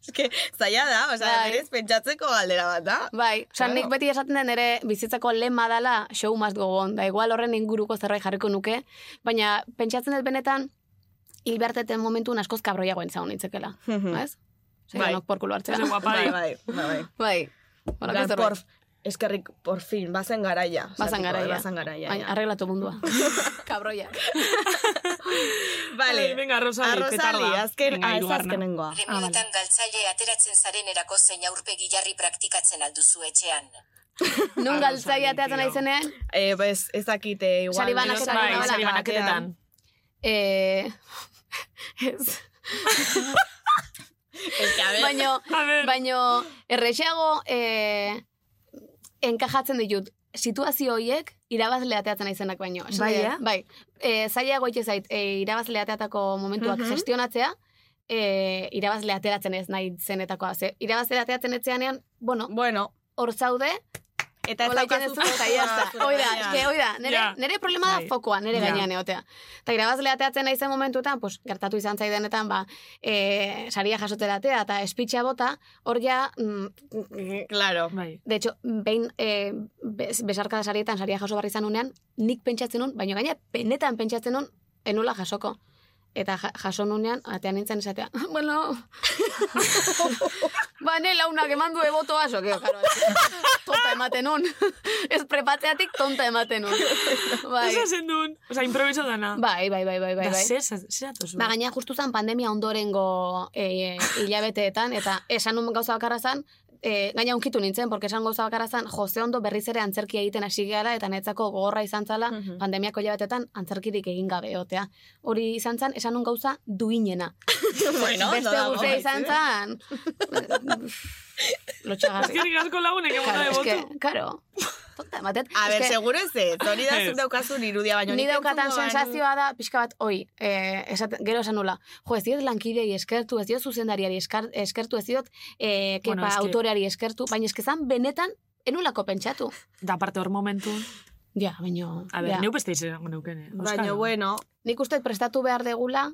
Eske, zaila da, oza,
Bai.
berez pentsatzeko galdera bat da.
Bai, oza,
Claro.
nik beti esaten da nire bizitzako lema dala show must go on, da igual horren inguruko zerbait jarriko nuke, baina pentsatzen dut benetan, hil beharteten momentun askoz kabroiagoen zaun nitzekela, ez? Zer,
Hmm. Bai.
bai. porkulo hartzera.
Oso guapa.
Bai, bai, bai. bai.
bai,
Lan,
Horrelako
por,
zerbait.
eskerrik, por fin, bazen garaia. Osea,
Bazen
tipo,
garaia.
Bazen garaia,
Baina,
ja.
arreglatu mundua.
(laughs)
Kabroia.
Vale,
Venga, Rosali,
arrozali,
petarda.
azken,
Venga,
ah, ez
hirugarrena.
azkenengoa.
Premioetan galtzaile ateratzen zaren erako zein aurpegi jarri praktikatzen alduzu etxean.
Nun
Arroz
galtzaia
handi,
teatzen
tio.
aizenean,
Eh, bez, ez dakite, igual.
Sari banaketa,
gauzak
Bai,
Bai,
sari banaketetan.
eh...
(laughs)
(laughs) ez.
Eske, a ber,
Baina,
A ver,
Baino, errexeago eh, enkajatzen ditut situazio hoiek irabazle ateatzen aizenak baino. Esan
Bai,
dut,
eh?
Bai, e, zailago itxe zait, e, irabazle ateatako momentuak
Mhm.
gestionatzea, e, irabazle ateratzen ez nahi zenetakoa. Ze, irabazle ateatzen etzeanean, bueno,
Bueno,
hor zaude,
eta ez
hola egiten
daukazu
duzu, eta jazta. (laughs)
fokua,
Hoi da,
zure
eske, hoi da, nere,
Ja.
nere problema da
Bai.
fokoa, nere
Ja.
gainean egotea. Eta irabazle ateatzen naizen momentutan, pues, gertatu izan zaidenetan, ba, e, saria jasoteratea eta espitxa bota, hor ja, mm,
Claro.
bai.
De hecho, behin e, bez, besarka sarietan saria jaso barri izan unean, nik pentsatzen nun, baina gaina benetan pentsatzen nun, enula jasoko. Eta ja, jaso nunean, atean nintzen esatea, (laughs) bueno, ba, ne launak eman du eboto aso, keo, karo, tonta ematen nun. (laughs) Ez prepatzeatik tonta ematen nun. Bai,
Esa zendun. Osa, improviso dana.
bai, bai, bai, bai, bai.
Da,
bai.
zer, zer zer atozu?
Ba, gaina justu zan pandemia ondorengo e, e, hilabeteetan, eta esan nun gauza bakarra zan, e, gaina unkitu nintzen, porque esan gauza bakarra zan, Jose Ondo berriz ere antzerkia egiten hasi gehala, eta netzako gogorra izan zala,
Mhm.
pandemiako hilabetetan antzerkirik egin gabe, otea. Hori izan zan, esan nun gauza duinena.
(laughs) Bueno,
Beste
no dago,
guztia izan
eh?
zan,
(laughs)
lotxagarri.
Ezkerrik asko lagunek emota
Claro,
de botu.
eske, claro, tonta ematen.
A ber,
Eske-
seguro ez (laughs) ez, hori da zuk
Ez.
daukazun irudia baino.
Ni
nik
daukatan
entzungo banu-
sensazioa da, pixka bat, oi, eh, esat, gero esan nula, jo, ez diot lankidei eskertu, ez diot zuzendariari esker- eskertu, ez diot eh, kepa
Bueno, eske-
autoreari eskertu, baina eskezan benetan enulako pentsatu.
Da, parte hor momentu.
Ja, baino,
A ber,
ja.
neu beste izan neuken, eh?
Baina, bueno,
nik uste prestatu behar degula,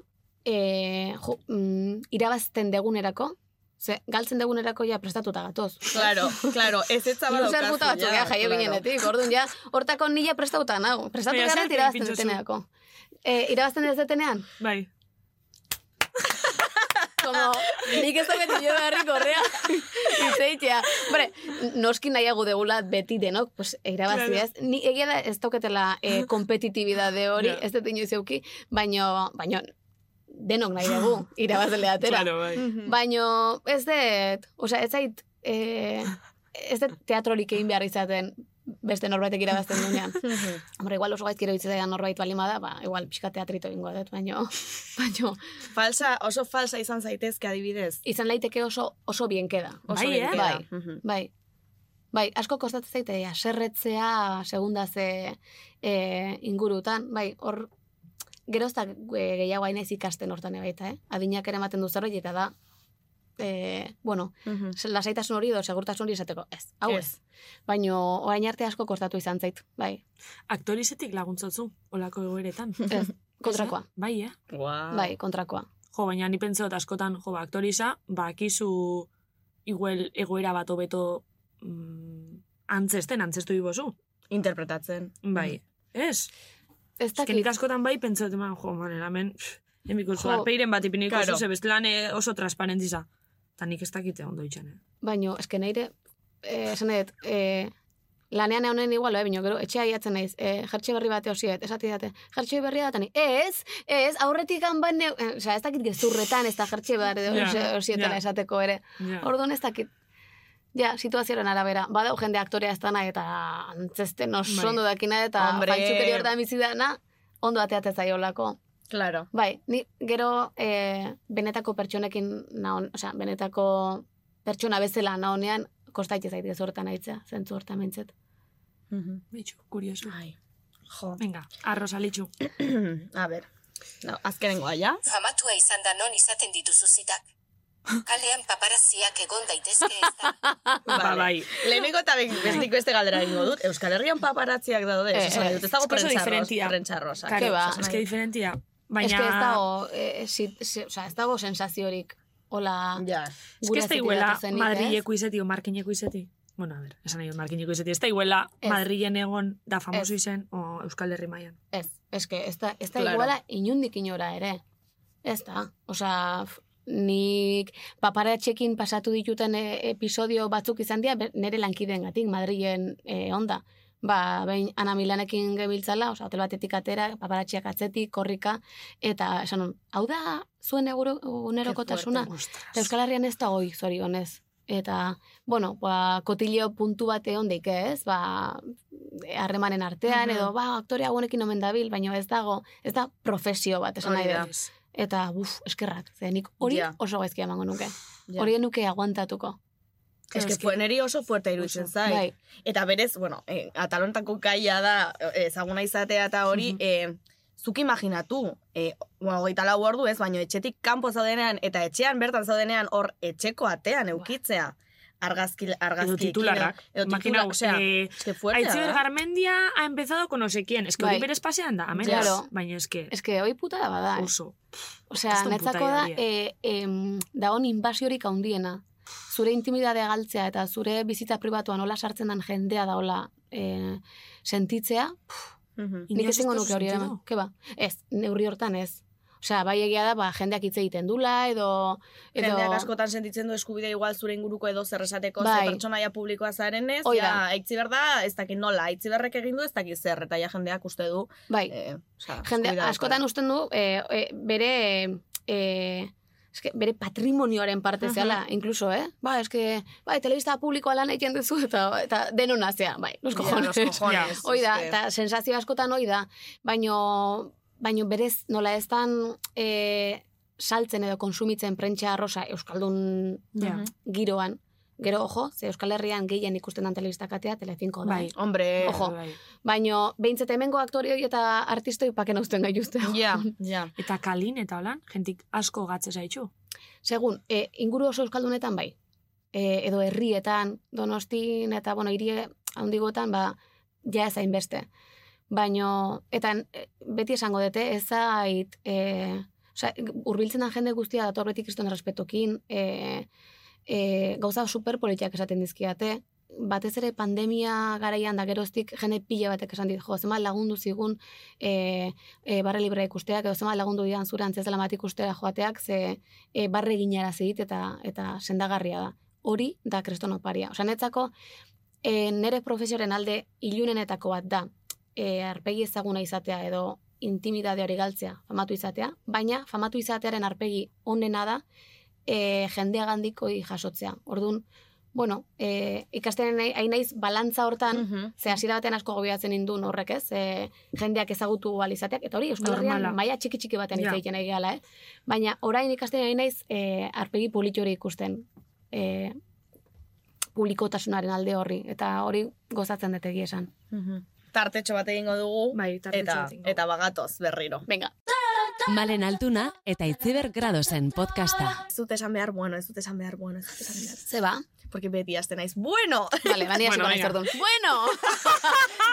eh, jo, mm, irabazten degunerako, Ze, galtzen degunerako ja prestatuta gatoz.
Claro, claro, ez ez zabal
Luzer puta batzuk ja, jaio ginenetik, orduan ja, hortako nila prestatuta nago. Prestatu
Baina
gara
zer
eta irabazten
pintxozu?
deteneako. E, irabazten detenean,
Bai.
como, nik ez da beti jo beharrik horrea, itzeitea. Hombre, noski nahiago degula beti denok, pues, irabazi
Claro.
ez. Ni egia da ez dauketela
(laughs)
eh, kompetitibidade hori,
Ja.
ez dut inoiz euki, baino, baino, denok nahi dugu,
(laughs)
irabazlea atera.
Claro, bai.
Baino, ez dut, osea, ez zait, e, ez dut teatrorik egin behar izaten beste norbaitek irabazten duenean. Hombre, igual oso gaizkiro itzaidan norbait balima da, ba, igual pixka teatrito egingo dut, baino, (laughs) baino,
Falsa, oso falsa izan zaitezke adibidez.
izan laiteke oso, oso bien queda.
Oso
Bai,
bien
eh?
queda.
Bai.
Mhm.
Bai, bai, asko kostatzen zaite, aserretzea, segunda ze e, ingurutan, bai, hor, geroztak e, gehiago hain naiz ikasten hortan ebaita, eh? Adinak ere ematen du zerbait, eta da, e, bueno,
Mhm.
Se- lasaitasun hori edo segurtasun hori esateko, ez, hau ez.
Ez.
Baino orain arte asko kostatu izan zait, bai,
Aktorizetik laguntzatzu, olako egoeretan.
ez, Mm, kontrakoa,
Bai, eh?
Wow.
bai, kontrakoa.
Jo, baina ni pentseo eta askotan, jo, ba, aktorisa, ba, akizu iguel egoera bat hobeto mm, antzesten, antzestu dibozu.
Interpretatzen.
Bai,
Mm.
ez?
Ez
Ez que nik
dakit,
askotan bai pentseo eman, jo, man, eramen, pff, emiko zu,
Jo.
arpeiren bat ipiniko
Claro.
zu, ze bestelan eh, oso transparentiza. Eta nik ez dakite ondo itxan, eh?
baino, eske neire, eh, esan dut, eh, lanean honen igual, eh, baino, gero, etxea iatzen naiz, eh, jertxe berri bate osiet, esati date, jertxe berria datani, ez, ez, aurretik ganban, neu- eh, osea, ez dakit gezurretan, ez da jertxe berri
Ja,
ose- osietela
ja.
esateko ere.
Ja.
Orduan ez dakit. Ja, situazioaren arabera. Badau jende aktorea ez dana eta antzesten oso
Bai.
ondo dakina eta
Hombre.
faltzukeri hortan bizi dana, ondo ateatzen zaiolako.
Claro.
Bai, ni gero eh, benetako pertsonekin naon, osea, benetako pertsona bezala naonean, kostaitez zait gezurtan aitzea, zentzu hortan mintzet.
Mhm.
Bitxu, kuriosu.
Ai. (clears throat) Jo.
Venga, arrozalitxu.
A ber. No, azkenengoa, (laughs) ja?
Famatua izan da non izaten dituzu zitak. Kalean paparaziak egon daitezke ez da.
Ba, bai.
Lehenengo eta be- bestik beste galdera egingo dut. Euskal Herrian paparatziak daude.
Eh,
Eh, esan dut, ez dago
oso
prentxarros.
diferentia.
Prentxarrosa.
Claro, ba,
Ez que diferentia. Baina...
Eske ez dago, eh, sit, si- osea, ez dago sensaziorik, hola,
Ja.
Ez que
gure
ez da
zetik
iguela
datozenik, ez?
Madrileko izeti o Markineko izeti. Bueno, a ver, esan nahi dut Markineko izeti. Ez da iguela
Ez.
Madrilen egon da famoso
Ez.
izen o Euskal Herri mailan.
Ez, eske, ez da, ez da
Claro.
iguala inundik inora ere. Ez da, osea, f- nik paparatxekin pasatu dituten e, episodio batzuk izan dira, ber- nire lankidengatik, Madrilen e, onda. Ba, behin Ana Milanekin gebiltzala, osea, hotel batetik atera, paparatxeak atzetik, korrika, eta esan nun, hau da, zuen eguro, unerokotasuna. Eta
Ostras.
Euskal Herrian ez da goi, zorionez. Eta, bueno, ba, kotileo puntu bat egon daik ez, ba, harremanen artean,
Mhm.
edo, ba, aktore honekin omen dabil, baina ez dago, ez da profesio bat, esan nahi
Hori da.
dut. Eta, buf, eskerrak, ze nik hori
Ja.
oso gaizki emango nuke.
Ja.
Hori nuke aguantatuko.
Es que fue neri oso fuerte iruditzen
Oso.
zait.
Bai,
Eta berez, bueno, eh, atalontako gaia da, eh, ezaguna izatea eta hori,
Mhm.
eh, zuk imaginatu, eh, bueno, hogeita lau ordu ez, baino etxetik kanpo zaudenean, eta etxean bertan zaudenean hor etxeko atean eukitzea. Argazki, argazki
Edo titularrak.
Edo
Makina,
titularrak, osea,
eh,
es que fuertea
Aitziber
da.
Garmendia ha empezado con no sé quién. Ez que
Bai.
hori berez pasean da, amenaz.
Claro.
Baina ez que
ez que hoi puta da bada. Eh?
oso.
Osea,
kriston
netzako
putada
da,
hori,
e, em, dagoen inbasiorik handiena. Zure intimidadea galtzea eta zure bizitza pribatuan nola sartzen den jendea da hola e, sentitzea,
Mhm.
Nik
Inoiz
ezingo
ez
nuke
duzu
hori eman.
sentido.
Ke ba? Ez, neurri hortan ez. Osea, bai egia da, ba, jendeak hitz egiten dula, edo... edo
Jendeak askotan sentitzen du eskubidea igual zure inguruko edo zer esateko
Bai.
ze pertsonaia publikoa zarenez,
Hoi
ja,
da.
aitziber da, ez dakit nola, aitziberrek egin du ez dakit zer, eta ja jendeak uste du,
Bai,
eh, osea,
jende
eskubidea
askotan
daukala.
usten du, e, e, bere... E, eske, bere patrimonioaren parte
Mhm.
zehala, inkluso, eh? Ba, eske, bai, telebista publikoa lan egiten duzu, eta, eta denona zea, bai, los
Ja,
cojones.
los cojones,
(laughs) Hoi da,
eske.
eta sensazio askotan hoi da, baino, baino berez nola ez dan e, saltzen edo konsumitzen prentxa arrosa Euskaldun
Ja.
Mhm.
giroan. Gero, ojo, ze Euskal Herrian gehien ikusten den telebista katea, Telecinco da.
Bai.
Hombre,
Ojo.
Bai.
eh? Baino, behintzat hemengo aktore hori eta artistoi paken hausten
(laughs)
gaituzte. (laughs)
Ja, ja.
Eta kalin eta holan, jentik asko gatze zaitxu.
Segun, e, inguru oso Euskaldunetan bai. E, edo herrietan, donostin, eta, bueno, hiri handigotan, ba, ja ez hainbeste. Baino, eta e, beti esango dute, ez zait, e, oza, urbiltzen den jende guztia dator beti kriston errespetukin, e, e, gauza superpolitiak esaten dizkiate, batez ere pandemia garaian da geroztik jende pila batek esan dit, jo, zema lagundu zigun e, e, barre librea ikusteak, edo zema lagundu dian zure antzezala mat ikustera joateak, ze e, barre ginara zidit eta, eta sendagarria da. Hori da kreston oparia. Osa, netzako, e, nire profesioren alde ilunenetako bat da, e, arpegi ezaguna izatea edo intimidade hori galtzea, famatu izatea, baina famatu izatearen arpegi onena da, e, jendeagandiko jasotzea. Orduan, bueno, e, ikasten nahi- ari naiz balantza hortan, Ze hasiera batean asko gobiatzen indun horrek, ez? E, jendeak ezagutu ahal izateak eta hori Euskal Herrian
Normala.
maila txiki txiki batean
Ja.
hitz egiten ari gehala, eh? Baina orain ikasten ari naiz e, arpegi polit hori ikusten. E, publikotasunaren alde horri eta hori gozatzen dut egia esan.
Tartetxo bat egingo dugu.
Bai, tartetxo
eta,
bat egingo.
eta bagatoz berriro.
Venga.
Malen Altuna eta Itziber Gradosen podcasta.
Ez dut esan behar bueno, ez dut esan behar bueno, ez dut esan behar.
Ze ba?
Porque beti hasten naiz (laughs) bueno.
Vale, bani hasiko
Bueno,
naiz
venga.
orduan.
(laughs)
Bueno.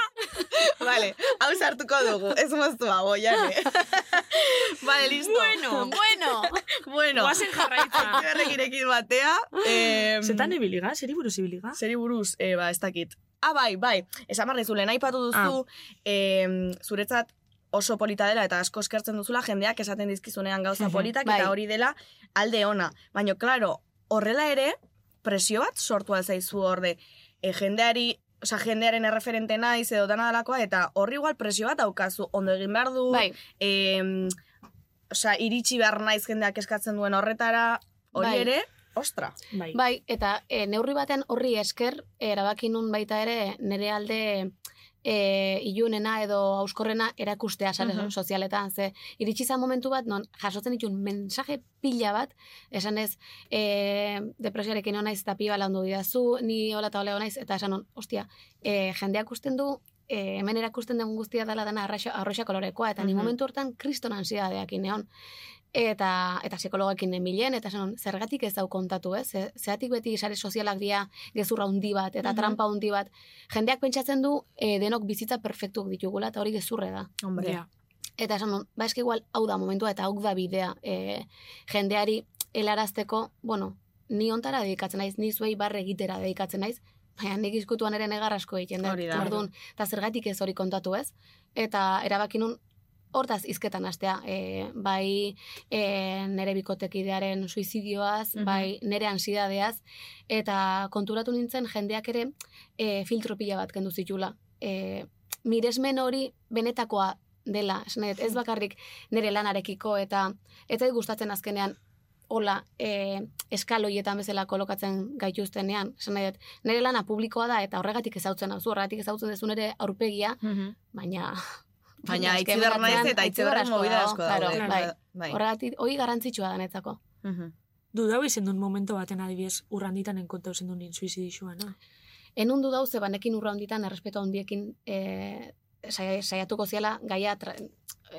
vale, hau sartuko dugu. Ez moztu hau, jane. (laughs) vale, listo. Bueno, bueno. (laughs) bueno.
Guazen
(laughs)
jarraitza.
Zerrekirekin batea. Eh,
Zetan ibiliga, zeri buruz ibiliga?
Zeri buruz, eh, ba, ez dakit. Ah, bai, bai, esan barri zu, lehen aipatu
Ah.
duzu, em, zuretzat oso polita dela eta asko eskertzen duzula jendeak esaten dizkizunean gauza
Mhm,
politak
bai.
eta hori dela alde ona. Baina, klaro, horrela ere, presio bat sortu alzaizu orde. E, jendeari, oza, jendearen erreferente naiz edo dana dalakoa, eta horri igual presio bat daukazu, ondo egin behar du,
bai,
em, osea, iritsi behar naiz jendeak eskatzen duen horretara, hori
Bai.
ere, ostra.
Bai.
Bai, eta e, neurri baten horri esker e, erabaki nun baita ere nire alde e, ilunena edo auskorrena erakustea sare
Mhm.
sozialetan. Ze iritsi zan momentu bat, non jasotzen ditun mensaje pila bat, esan ez e, depresioarekin hona eta piba landu didazu, ni hola eta hola naiz, eta esan hon, ostia, e, jendeak usten du, e, hemen erakusten den guztia dela dana arroxa, arroxa kolorekoa, eta ni
Mhm.
momentu hortan kriston ansidadeakin neon eta eta psikologakin nenbilen, eta esan, zergatik ez dau kontatu, ez? Ze- Zergatik beti sare sozialak dira gezurra handi bat, eta
Mhm.
trampa handi bat. Jendeak pentsatzen du e, denok bizitza perfektuak ditugula, eta hori gezurre da.
Hombre.
Ja.
Eta esan, nun, ba eski igual, hau da momentua, eta hau da bidea. E, jendeari helarazteko, bueno, ni ontara dedikatzen naiz, ni zuei barre egitera dedikatzen naiz, baina nik izkutuan ere negar asko egiten dut.
Hori da.
Orduan, eta zergatik ez hori kontatu ez, eta erabaki nun hortaz izketan astea, e, bai e, nere bikotekidearen suizidioaz,
Mhm.
bai nere ansidadeaz, eta konturatu nintzen jendeak ere e, filtro pila bat kendu zitula. E, miresmen hori benetakoa dela, esan nahi dut, ez bakarrik nire lanarekiko eta ez zait gustatzen azkenean hola, e, eskaloietan bezala kolokatzen gaituztenean, esan nahi dut, nire lana publikoa da eta horregatik ezautzen hau, horregatik ezautzen dezu nire aurpegia, (laughs) baina...
Baina
eske
itzi behar naiz
atzean
eta itzi
behar
beharren movida asko
dago,
daude.
claro,
bai.
bai.
bai.
Horregatik, hori garrantzitsua da netzako.
Mhm.
Dudau izen duen momento baten adibidez urranditan enkonta izen duen suizidixua, no?
Enundu dau, ze banekin urra honditan, errespeto handiekin e, sai- saiatuko ziala gaia tra,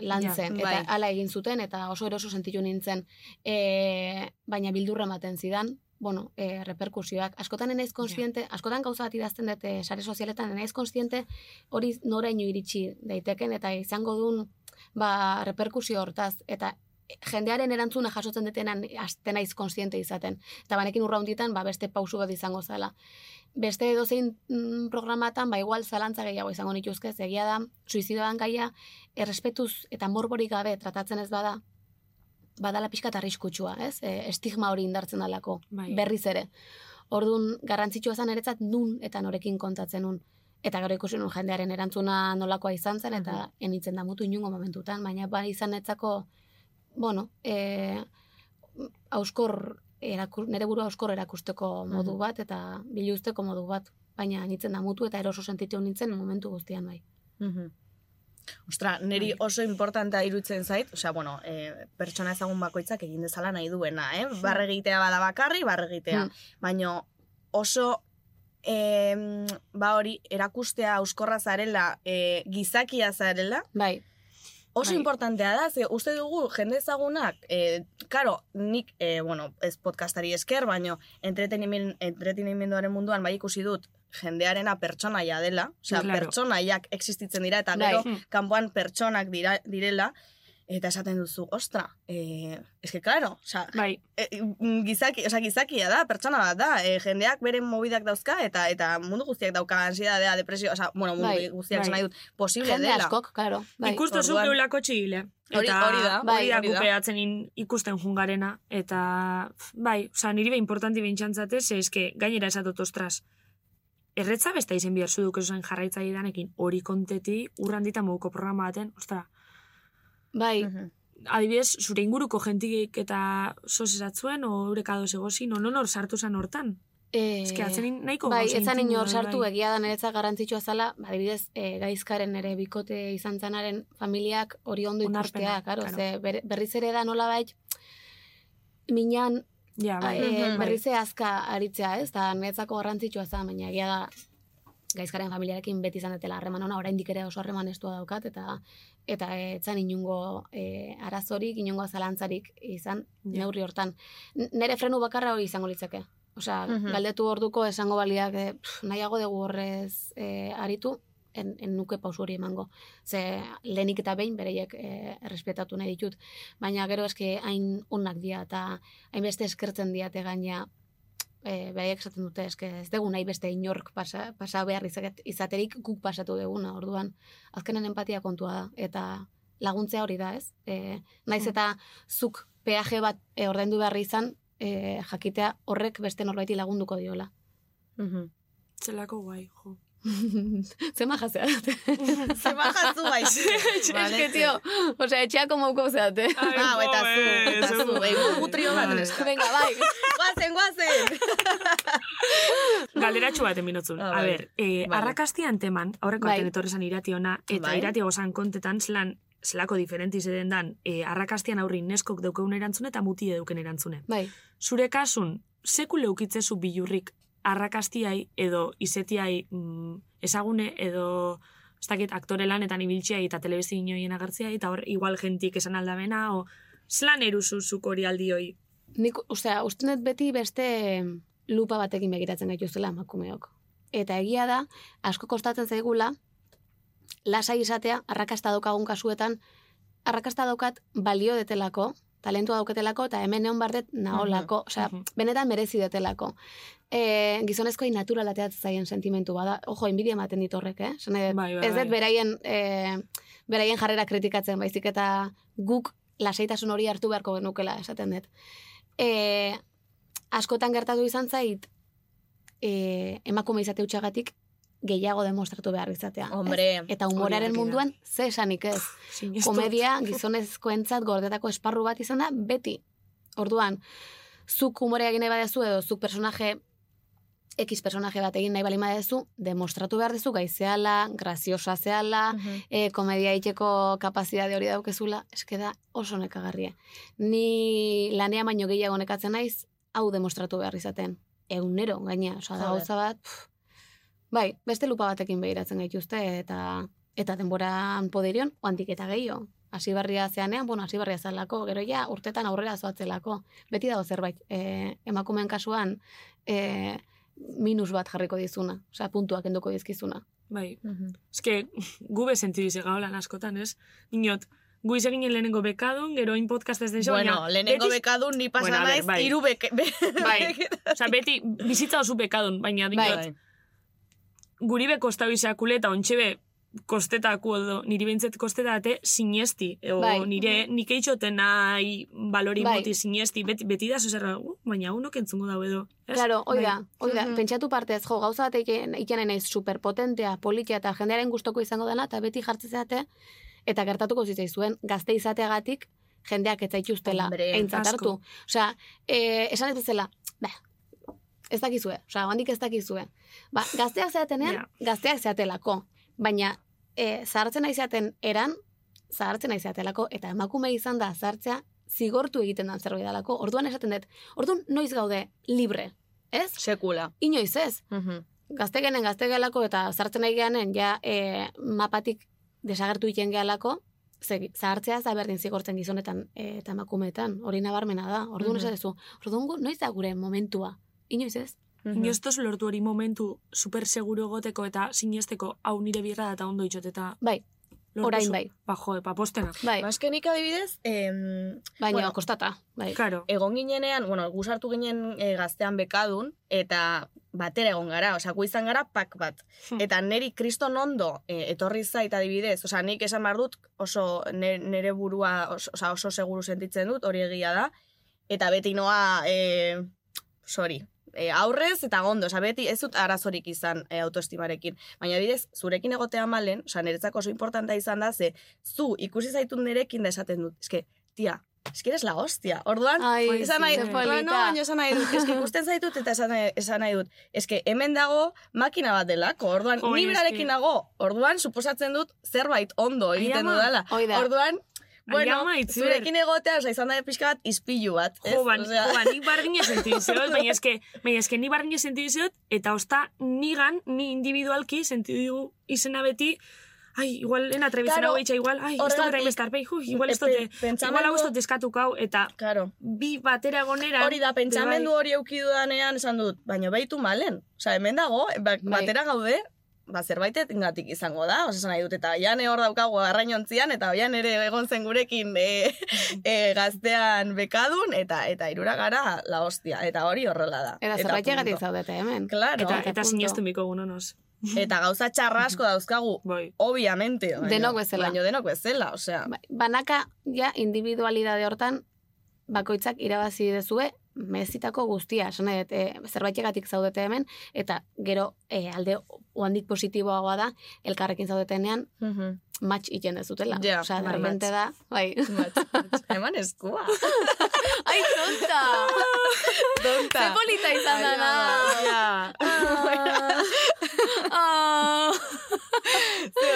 lan
Ja,
zen.
bai.
Eta hala egin zuten, eta oso eroso sentitu nintzen. E, baina bildurra ematen zidan, bueno, e, reperkusioak. Askotan naiz konsiente, askotan gauza bat idazten dut e, sare sozialetan, naiz konsiente hori noraino iritsi daiteken, eta izango duen ba, reperkusio hortaz, eta eh, jendearen erantzuna jasotzen detenan aste naiz konsiente izaten. Eta banekin urra honditan, ba, beste pausu bat izango zala beste edozein mm, programatan, ba igual zalantza gehiago izango nituzke, ze egia da, suizidoan gaia, errespetuz eta morborik gabe tratatzen ez bada, badala pixka eta arriskutsua, ez? E, estigma hori indartzen dalako,
Bai.
berriz ere. Orduan, garrantzitsua zen eretzat nun eta norekin kontatzen nun. Eta gero ikusi nun jendearen erantzuna nolakoa izan zen, eta enitzen da mutu inungo momentutan, baina ba izan etzako, bueno, e, auskor, eraku, nere burua auskor erakusteko modu
Mhm.
bat, eta biluzteko modu bat, baina nintzen da mutu eta eroso sentitu nintzen momentu guztian bai.
Mhm. Ostra, niri oso importantea irutzen zait, osea, bueno, e, pertsona ezagun bakoitzak egin dezala nahi duena, eh? Barregitea bada bakarri, barregitea.
Mm.
Baino oso em, ba hori, erakustea euskorra zarela, e, gizakia zarela,
Bai,
Oso
Bai.
importantea da, ze uste dugu jende ezagunak, e, karo, nik, e, bueno, ez podcastari esker, baino entretenimen- entretenimenduaren munduan bai ikusi dut jendearena pertsonaia dela, osea,
Claro.
pertsonaiak existitzen dira, eta
Bai.
gero kanpoan pertsonak dira, direla, Eta esaten duzu, ostra, eh, eske, klaro, oza,
Bai,
e, mm, gizaki, oza, gizakia da, pertsona bat da, e, jendeak bere mobidak dauzka, eta eta mundu guztiak dauka ansiedadea, depresio, oza, bueno, mundu
Bai,
guztiak
bai.
esan nahi dut, posible
Jende
dela.
askok, claro. Bai.
ikustu zu
orduan.
geulako txigile.
Hori-
Eta
hori da,
hori da,
hori da.
gupeatzen in- ikusten jungarena. Eta, pf, bai, oza, niri be importanti bintxantzate, ze eske, gainera esatut, ostras, erretza beste izen bihar zuduk esan jarraitzaile danekin, hori konteti, urrandita moduko programa baten, ostra,
Bai,
Mhm.
adibidez, zure inguruko jentik eta sozesatzuen, o eureka doz egozin, o nonor sartu zan hortan.
eh,
Eske, atzenin nahiko
Bai,
gauza
etzan
intimoa,
inor sartu
bai.
egia da niretzat garrantzitsua zala, badibidez, e, gaizkaren ere bikote izan zanaren familiak hori ondo
Onarpena,
ikustea, karo,
claro.
ze ber- berriz ere da nola bait, minan
Ja, bai.
e,
Mhm.
berriz ere azka aritzea, ez, da niretzako garrantzitsua zan, baina egia da gaizkaren familiarekin beti izan detela harreman ona, oraindik ere oso harreman estua daukat, eta eta etzan inungo e, arazorik, inungo zalantzarik izan
Ja.
neurri hortan. N- Nere frenu bakarra hori izango litzake. Osea,
Mhm.
galdetu orduko esango baliak eh, pff, nahiago dugu horrez eh, aritu, en, en nuke pausu hori emango. Ze lehenik eta behin bereiek eh, errespetatu nahi ditut. Baina gero eske hain onak dira eta hainbeste eskertzen diate gaina e, beraiek esaten dute eske ez dugu nahi beste inork pasa, pasa behar izaket- izaterik guk pasatu deguna. Orduan, azkenen empatia kontua da eta laguntzea hori da, ez? E, naiz eta zuk peaje bat e, ordaindu behar izan, e, jakitea horrek beste norbaiti lagunduko diola. (laughs)
Mhm.
Zelako guai, jo.
Zema jazea dute.
(laughs)
Ze bajatzu (laughs) baiz. Vale,
Eske, tio, osea, etxeako mauko zeate.
Ah, eta zu, eta zu,
zu.
ei, gu- gu trio bat, neska.
Venga, bai.
Guazen, guazen!
Galderatxu baten binotzun.
Ah,
A
bai.
ber, eh,
Vale.
arrakastian teman, aurreko
Bai.
baten etorri zan irati ona, eta
Bai.
irati gozan kontetan zelan, zelako diferenti zeden dan, eh, arrakastian aurri neskok daukeun erantzune eta mutie dauken erantzune.
Bai,
Zure kasun, seku leukitzezu bilurrik arrakastiai edo izetiai mm, ezagune edo ez dakit aktore lanetan ibiltziai eta telebizin joien agertziai eta hor igual jentik esan aldamena o zelan eruzuzuk hori aldi hoi.
nik, osea, uste dut beti beste lupa batekin begiratzen gaituzela emakumeok. Eta egia da, asko kostatzen zaigula, lasai izatea, arrakasta daukagun kasuetan, arrakasta daukat balio detelako, talentua dauketelako, eta hemen egon bardet naolako, osea,
Mhm.
benetan merezi detelako. E, gizonezkoi naturalateat zaien sentimentu bada, ojo, enbidia ematen dit horrek, eh? Esan nahi dut,
Bai, bai,
ez dut
bai.
beraien, e, beraien jarrera kritikatzen, baizik eta guk lasaitasun hori hartu beharko genukela, esaten dut. E, askotan gertatu izan zait, e, emakume izate utxagatik gehiago demostratu behar izatea. ez?
Hombre,
Eta humoraren
Hori argi da.
munduan, ze esanik ez.
Sinestu.
Komedia gizonezkoentzat gordetako esparru bat izan da, beti. Orduan, zuk humorea egin nahi badezu edo zuk personaje X personaje bat egin nahi balima dezu, demostratu behar dezu gaizeala, graziosa zeala, e, komedia itxeko kapazidade hori daukezula, eske da oso nekagarria. Ni lanea baino gehiago nekatzen naiz, hau demostratu behar izaten. Egunero, gaina, osa da
Joder.
gauza bat, pff. bai, beste lupa batekin behiratzen gaituzte, eta eta denboran poderion, oantik eta gehiago. Hasi barria zeanean, bueno, hasi barria zelako, gero ja, urtetan aurrera zoatzelako. Beti dago zerbait, e, emakumeen kasuan, e, minus bat jarriko dizuna, osea, puntuak enduko dizkizuna.
Bai, Eske, gu be sentidu izega holan askotan, ez? Niot, gu izeginen lehenengo bekadun, gero oin podcast ez den zo,
Bueno,
baina
lehenengo
beti-
bekadun ni pasa
Bueno, a ver,
naiz,
bai.
hiru (laughs) beke... be-
Bai. Osa, beti bizitza oso bekadun, baina diot,
Bai.
guri be kostau izakule eta ontxebe kostetaku edo niri behintzet kostetate sinesti. Ego,
Bai.
nire, nik eitxoten nahi balori
Bai.
moti sinesti, beti, beti da zuzerra, uh, baina unok entzungo dau edo. ez?
Claro, hoi
Bai.
da, hoi da.
Mhm.
Pentsatu parte ez, jo, gauza bat egiten egiten naiz superpotentea, politia eta jendearen gustoko izango dela, eta beti jartzen zeate, eta gertatuko zitzaizuen, gazte izateagatik, jendeak ez zaituztela,
Hombre,
eintzat
asko.
hartu. Osea, e, esan ez bezala, ba, ez dakizue, osea, handik ez dakizue. Ba, gazteak zeatenean,
Ja.
gazteak zeatelako, baina e, zahartzen nahi zeaten eran, zahartzen nahi zeatelako, eta emakume izan da zahartzea, zigortu egiten dan zerbait dalako, orduan esaten dut, orduan noiz gaude libre, ez?
Sekula.
Inoiz ez, gazte genen gazte gelako eta zartzen nahi geanen, ja e, mapatik desagertu egiten gehalako, ze, zahartzea ez da berdin zigortzen gizonetan e, eta emakumeetan, hori nabarmena da, orduan
Mhm.
mm -hmm. orduan gu- noiz da gure momentua, inoiz ez?
Inostoz lortu hori momentu super seguro egoteko eta sinesteko hau nire birra da eta ondo itxot eta
Bai,
Lortu
Orain
zu.
bai.
Ba, jo, ba, postena.
Bai,
Azkenik adibidez, em,
baina
bueno.
kostata. Bai.
Claro.
egon ginenean, bueno, gu sartu ginen eh, gaztean bekadun, eta batera egon gara, osea, gu izan gara pak bat.
Hmm.
Eta neri kriston ondo eh, etorri zait adibidez, osea, nik esan behar dut oso ne- nere burua os- osea, oso seguru sentitzen dut, hori egia da, eta beti noa, eh, sorry, eh, aurrez eta ondo, osea, beti ez dut arazorik izan eh, autoestimarekin. Baina bidez, zurekin egotea malen, osea, niretzako oso importantea izan da, ze zu ikusi zaitun nerekin da esaten dut, eske, tia, eske eres la hostia, orduan,
Ai,
Esan nahi,
ze
ba, no,
polita.
baina esan nahi dut, eske
(laughs)
ikusten zaitut eta esan nahi, esan nahi dut, eske hemen dago makina bat delako, orduan,
Jo,
ni
eske.
berarekin nago, orduan, suposatzen dut zerbait ondo egiten
Aiama.
dudala.
Hoi da.
Orduan, bueno,
Aiama, Itziber.
zurekin egotea, osea, izan da pixka bat, izpilu bat, ez?
Jo, ba, ni-
Osea,
jo, ba, nik barrine sentidu
(laughs)
zeot, baina eske, baina eske ni barrine sentidu zeot, eta osta nigan, ni individualki sentidu izena beti, ai, igual, ena trebizena
Claro,
claro, igual, ai, ez dut
horregatik-
berain bai, hu, igual ez
(laughs) Pe-
dute,
pentsamendu-
igual hau ez dut eskatuk hau, eta
Claro.
bi batera gonera.
Hori
Bai,
da, pentsamendu hori eukidu danean esan dut, baina baitu malen. Osea, hemen dago, ba,
Bai.
batera gaude, ba, zerbaitet ingatik izango da, osea, esan nahi dut, eta oian hor daukagu arrainontzian, eta oian ere egon zen gurekin e,
Bai.
(laughs) e, gaztean bekadun, eta eta irura gara la hostia, eta hori horrela da.
Eta zerbait
punto.
egatik zaudete hemen.
Claro,
Eta,
eta,
eta
punto.
sinestu miko gunonos.
gauza txarrasko dauzkagu,
Bai.
obviamente. baina-
Denok bezala.
Baina denok bezala, osea.
Bai, Banaka, ja, individualidade hortan, bakoitzak irabazi dezue, mezitako guztia, esan nahi, dut, e, zerbait egatik zaudete hemen, eta gero e, alde oandik positiboagoa da, elkarrekin zaudetenean,
Mhm.
match egiten dezutela.
Ja,
Osea, de
bai,
repente
match.
da, bai.
Bat, bat. Eman
(laughs)
eskua.
Ai, tonta!
Donta.
(laughs) Ze polita izan da,
bai.
na!
(laughs)
Ah. (laughs) Ze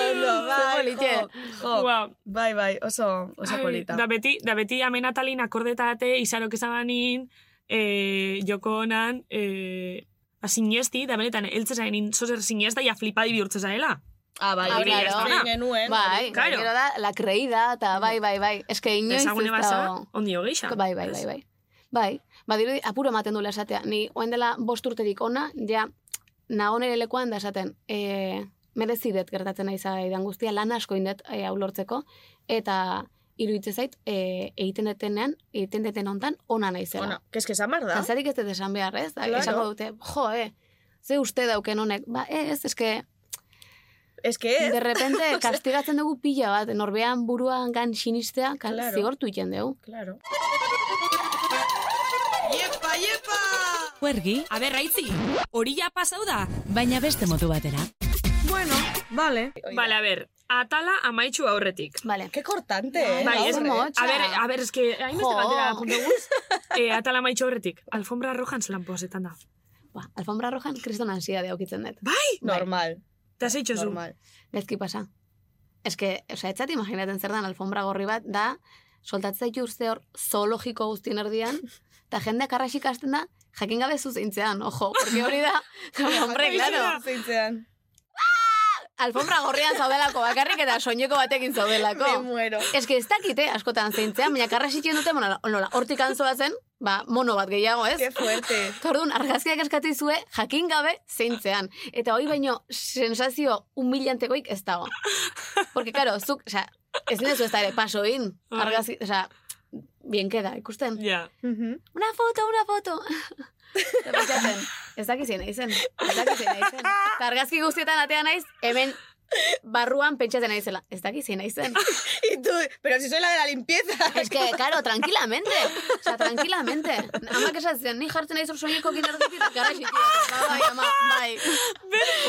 politxe.
Ua,
Bai, bai, oso, oso
ai,
polita.
Da beti, da beti amen atalin akordetate, izarok ezabanin, eh, joko honan, eh, ba, sinesti, da benetan, eltze zaenin, zozer sinesta, ja flipadi bihurtze zaela.
Ah, bai,
Ah,
hori
claro.
ez da genuen.
Bai,
Claro.
gero da, la creída, eta bai, bai, bai. Ez que inoiz
Ezagune
ez
baza,
dago.
ondi hogeixa.
Bai, bai, bai, bai. Bai, badirudi apuro ematen duela esatea. Ni oen dela bost urterik ona, ja, nago nire lekuan da esaten, e, merezi dut gertatzen ari zaidan guztia, lan asko indet e, hau lortzeko, eta iruditze zait, e, egiten detenean, egiten deten hontan, ona naizela.
Bueno, keske esan behar da.
Eta zatik ez dut esan behar, ez? Da,
Claro.
Esango dute, jo, e, ze uste dauken honek, ba, ez, eske,
Ez que ez. (laughs)
de repente, kastigatzen dugu pila bat, norbean buruan gan sinistea, kal,
Claro.
zigortu iten dugu.
Claro.
Puergi,
Aber, Aitzi, hori ja pasau da.
baina beste modu batera.
Bueno, vale.
Bale, a ber, atala amaitxu aurretik.
Vale.
Qué cortante, eh.
Bai, ez,
oso motxa.
a ber, a ber, eske, hainbeste
Jo.
batera apunteguz, eh, atala amaitxu aurretik. Alfombra rojan zelan posetan da.
Ba, alfombra rojan kriston ansiedade aukitzen dut.
eh, Normal.
Eta zeitxozu.
Normal.
Gezki pasa. Ez que, osea, etzat imaginaten zer dan alfombra gorri bat, da, soltatzen zaitu urte hor zoologiko guztien erdian, eta jendeak arraxik hasten da, jakin gabe zuzintzean, ojo, porque hori da, hombre, claro,
Zeitzean.
alfombra gorrian zaudelako bakarrik eta soineko batekin
Me
zaudelako.
muero.
Ez que ez dakite askotan zeintzean, baina karrasitzen dute, bueno, nola, hortik antzoa zen, ba, mono bat gehiago, ez?
Qué
(laughs)
fuerte.
Eta orduan, argazkiak eskatu izue, jakin gabe zeintzean. Eta hoi baino, sensazio humilantekoik ez dago. Porque, claro, zuk, oza, ez nezu ez da ere, paso in,
Bai.
argazki, oza, bien queda, ikusten.
Ja.
Mhm.
Una foto, una foto! Eta pentsatzen, ez dakizien naizen, ez dakizien naizen. Eta argazki guztietan atea naiz, hemen barruan pentsatzen naizela, ez dakizien naizen.
Y tú, pero si soy la de la limpieza. (laughs)
Es que, claro, tranquilamente. O sea, tranquilamente. Amak esatzen, ni jartzen nahi zor soineko kinerdetik eta (laughs) gara Ba, bai, ama, bai.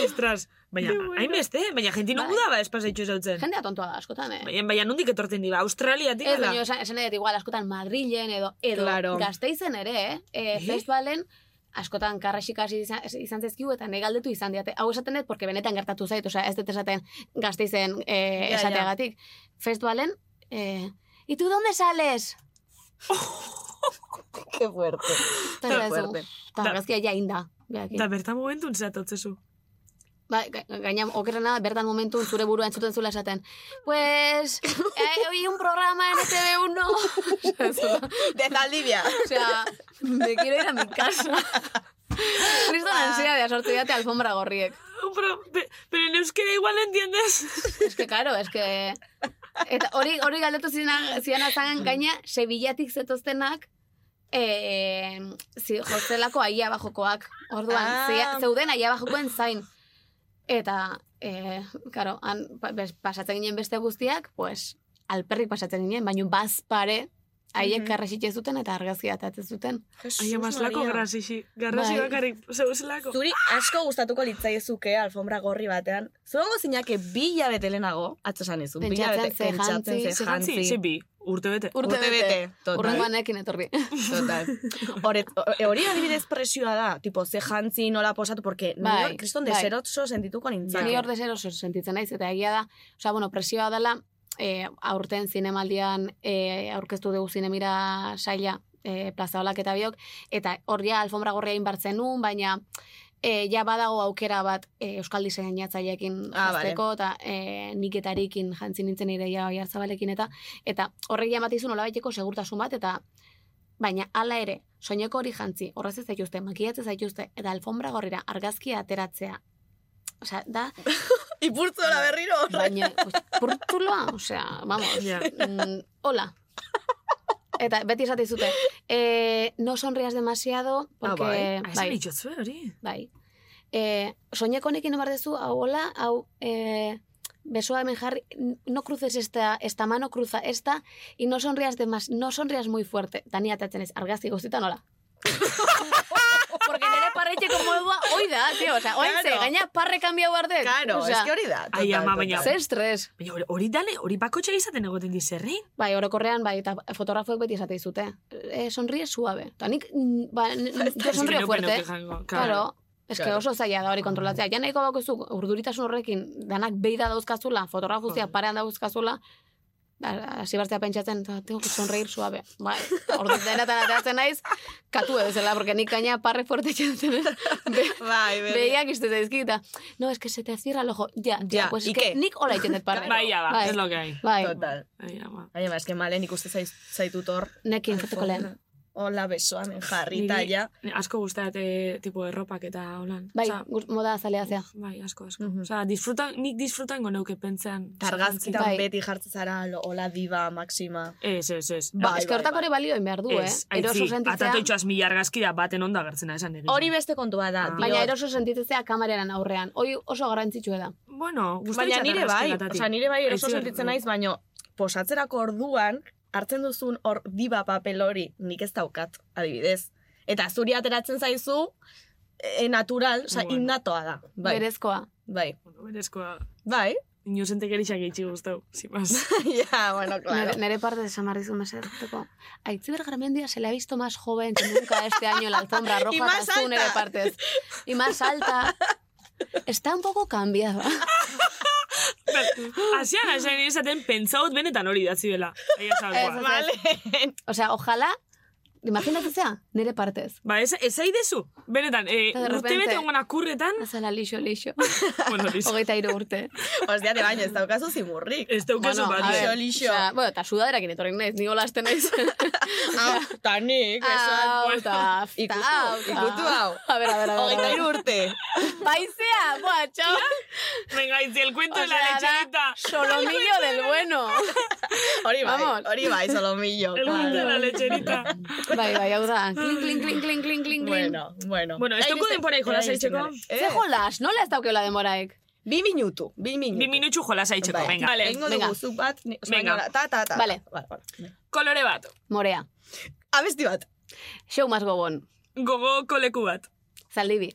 Ostras, baina, hainbeste, baina jentino
Bai.
guda ba espaz eitxu zautzen.
Jendea tontua da askotan,
Bai,
eh?
Baina, baina nondik etorten dira, Australiatik
Ez,
ala.
baina esan, esan edat igual askotan Madrilen edo, edo
Claro.
gazteizen ere, eh? E, Festivalen askotan karrasik hasi izan, izan zaizkigu eta nahi galdetu izan diate. Hau esaten dut, porque benetan gertatu zait, osea, ez dut esaten gazteizen eh,
Ja, ja.
esateagatik. Festivalen, eh, ¿y tú dónde sales?
(laughs) Qué fuerte.
Eta esaten duzu,
fuerte.
"Ta,
Da-
argazkia ja inda. beakin."
Eta bertan momentun zeratotzezu.
Ba, ga- gaina, okerrena, bertan momentu zure burua entzuten zula esaten. Pues, eh, hoy un programa en ETV1.
De Zaldivia.
(laughs) o sea, (laughs) me quiero ir a mi casa. Cristo ansia de sortu date alfombra gorriek.
compro... pe- Pero en euskera igual
(laughs)
entiendes.
Es que, karo, es que... Eta hori, hori galdetu zidan, zidan azan gaina, Sevillatik zetoztenak, eh, zi, jostelako aia bajokoak. Orduan,
Ah.
zea- zeuden aia bajokoen zain. Eta, eh, karo, han, pa, bes- pasatzen ginen beste guztiak, pues, alperrik pasatzen ginen, baina bazpare, haiek
Mhm.
karrasitxe zuten eta argazkia atatzen zuten.
Jesus
Aia, maslako
Maria.
grasixi. Garrasi
Bai.
bakarrik, zeuzelako.
Zuri asko gustatuko litzaizuke alfombra gorri batean. Zuengo zinake bi hilabete lehenago, atzo esan izun, bi
Pentsatzen
hilabete,
ze
pentsatzen
jantzi,
ze
ze
Jantzi,
jantzi.
zebi, urte bete.
Urte
Urte bete, total.
Urrengoan ekin etorri.
total.
(laughs)
Hore, e, hori adibidez presioa da, tipo, ze jantzi nola posatu, porque
Bai,
bai, kriston
bai.
deserotzo sentituko nintzen.
Ni hor desero zer sentitzen naiz, eta egia da, osea, bueno, presioa dela, e, aurten zinemaldian e, aurkeztu dugu zinemira saila e, plazaolak eta biok, eta hor ja alfombra gorria inbartzen nun, baina e, ja badago aukera bat e, Euskal Diseinatzaileekin
Ah, bale.
jazteko, eta e, nik etarikin jantzi nintzen ireia oi hartzabalekin, eta eta horrek jamatizun nola baiteko segurtasun bat, eta baina hala ere, soineko hori jantzi, horrez ez zaituzte, makiatze zaituzte, eta alfombra gorrira argazkia ateratzea. Osea, da,
(laughs) Ipurtzola berriro horre.
Baina, pues, purtuloa, osea, vamos,
Ja.
mm, hola. Eta beti esate zute, eh, no sonrías demasiado, porque...
bai.
Ah, esan
bai,
itxotzue hori.
bai. Eh, soñeko honekin emar dezu, hau hola, hau... Eh, besoa hemen jarri, no cruces esta, esta mano, cruza esta, y no sonrías de más, no sonrías muy fuerte. Dani atatzen ez, argazki guztietan
(laughs)
hola. Porque nire parretxeko modua, hoi da, tío, o sea, oain ze,
Claro.
gaina parre kambiau bardet.
Claro, es que hori da. total,
Ai, ama,
total.
baina-
Ze estres.
Baina hori- hori dale, hori bakotxa izaten egoten dizerrein.
Bai, orokorrean, bai, eta fotografoek beti esate dizute. E, sonríe suave. Eta nik, mm, ba, n- yo sonrío fuerte.
Claro.
Claro, eske
Claro.
oso zaila da hori kontrolatzea. Ja nahiko bakoizu, urduritasun horrekin, danak beida dauzkazula, fotografuzia
Joder.
parean dauzkazula, da- hasi bartzea pentsatzen, "Ta, tengo que sonreír suave. Bai, ordu denatan ateratzen naiz, katu bezala, porque nik gaina parre fuerte txatzen. Be,
Bai, bai.
Behiak izte zaizkita. No, es que se te cierra el ojo. Ya, ya,
Ya,
pues
¿y
es que
qué?
nik hola itxetet parre.
Bai, ja, ba,
Bai.
es lo que hay.
Bai,
Total.
Ai, ama.
Baina, ba, eske malen ikuste zaiz, zaitut hor.
nekin fotoko lehen.
Hola, besoa, men jarrita,
Niri-
ja.
ni Asko gustate tipo erropak eta holan.
Bai,
Osea,
gus- moda azalea zea.
bai, asko, asko.
Mhm.
Osea, disfruta, nik disfrutango neuke pentsean.
Targazkitan
Bai.
beti jartzen zara, lo- hola diva, maxima.
Ez, ez, ez.
Ba,
Bai,
eske
bai,
hortak
bai.
hori balio egin behar du, eh?
Ez, aitzi,
Eroso sentitzea,
atatu itxoaz mila argazki da baten onda gertzena esan egin.
Hori beste kontua da.
Ah.
diot.
baina eroso sentitzea kamararen aurrean. Hoi oso garrantzitsua da.
Bueno, gustatzen
Baina
zait
nire
argazki
bai,
latatik.
osea, nire bai eroso
Aizu,
sentitzen naiz, baino posatzerako orduan hartzen duzun hor diba papel hori nik ez daukat, adibidez. Eta zuri ateratzen zaizu e, natural, osea,
Bueno.
innatoa da. Bai,
Berezkoa.
bai,
Bueno, Berezkoa,
bai. (laughs)
inusentek erixak itxi guztau,
(laughs)
zimaz.
ja, bueno,
Nere,
claro.
nere parte desamarrizu meseteko. Aitziber Garmendia se le ha visto más joven que nunca este año en la alfombra roja.
(laughs) Y más
eta
alta.
Tú, nere partez. Y más alta. Está un poco cambiada. (laughs)
Ba, Asian, asian, esaten pentsaut benetan hori datzi dela. Bai, ba, Aia
Ez, ez,
salgoa.
ez.
Vale.
O sea, ojalá... Imaginatzea, nere partez.
Ba, ez, ez aidezu. Benetan, e,
Eta de
urte
repente-
bete ongan
(laughs)
akurretan,
Azala lixo, lixo.
bueno, listo.
Hogeita hiru urte.
Ostia, de baino, ez daukazu zimurrik.
Ez daukazu
Bueno,
bat. eh.
a ver,
Lixo, lixo.
osea, bueno, eta sudaderakin etorri naiz, ni hola hasten naiz.
(laughs) Hau, Ah, ta nik, besoan.
Hau,
(laughs)
ta,
Ikutu,
ta, hau, ta.
ikutu hau.
(laughs) A ver, a ver, a ver.
Hogeita hiru urte.
Paisea, boa, txau.
Venga, itzi, el cuento
O
de la
sea, da
lecherita.
Solomillo del
(laughs)
bueno.
Hori bai,
Vamos.
hori bai, solomillo.
El
claro.
cuento de la lecherita.
Bai, bai, hau
(laughs)
da. Kling, kling, kling, kling, kling, kling, kling.
Bueno, bueno.
Bueno, ez
Ai,
dauku
beste-
denbora
Ai,
ikola zaitzeko.
beste-
Ze
Eh,
jolas, nola ez daukela demoraek?
Bi minutu, bi minutu.
Bi minutxu jola zaitzeko,
Bai.
venga.
Vale, Egingo
venga.
dugu zuk bat, ni- osea,
Venga.
nola, ta, ta, ta.
Vale.
Vale, vale.
Kolore bat,
Morea.
Abesti bat,
Show mas gobon.
gogoko leku bat,
Zaldibi.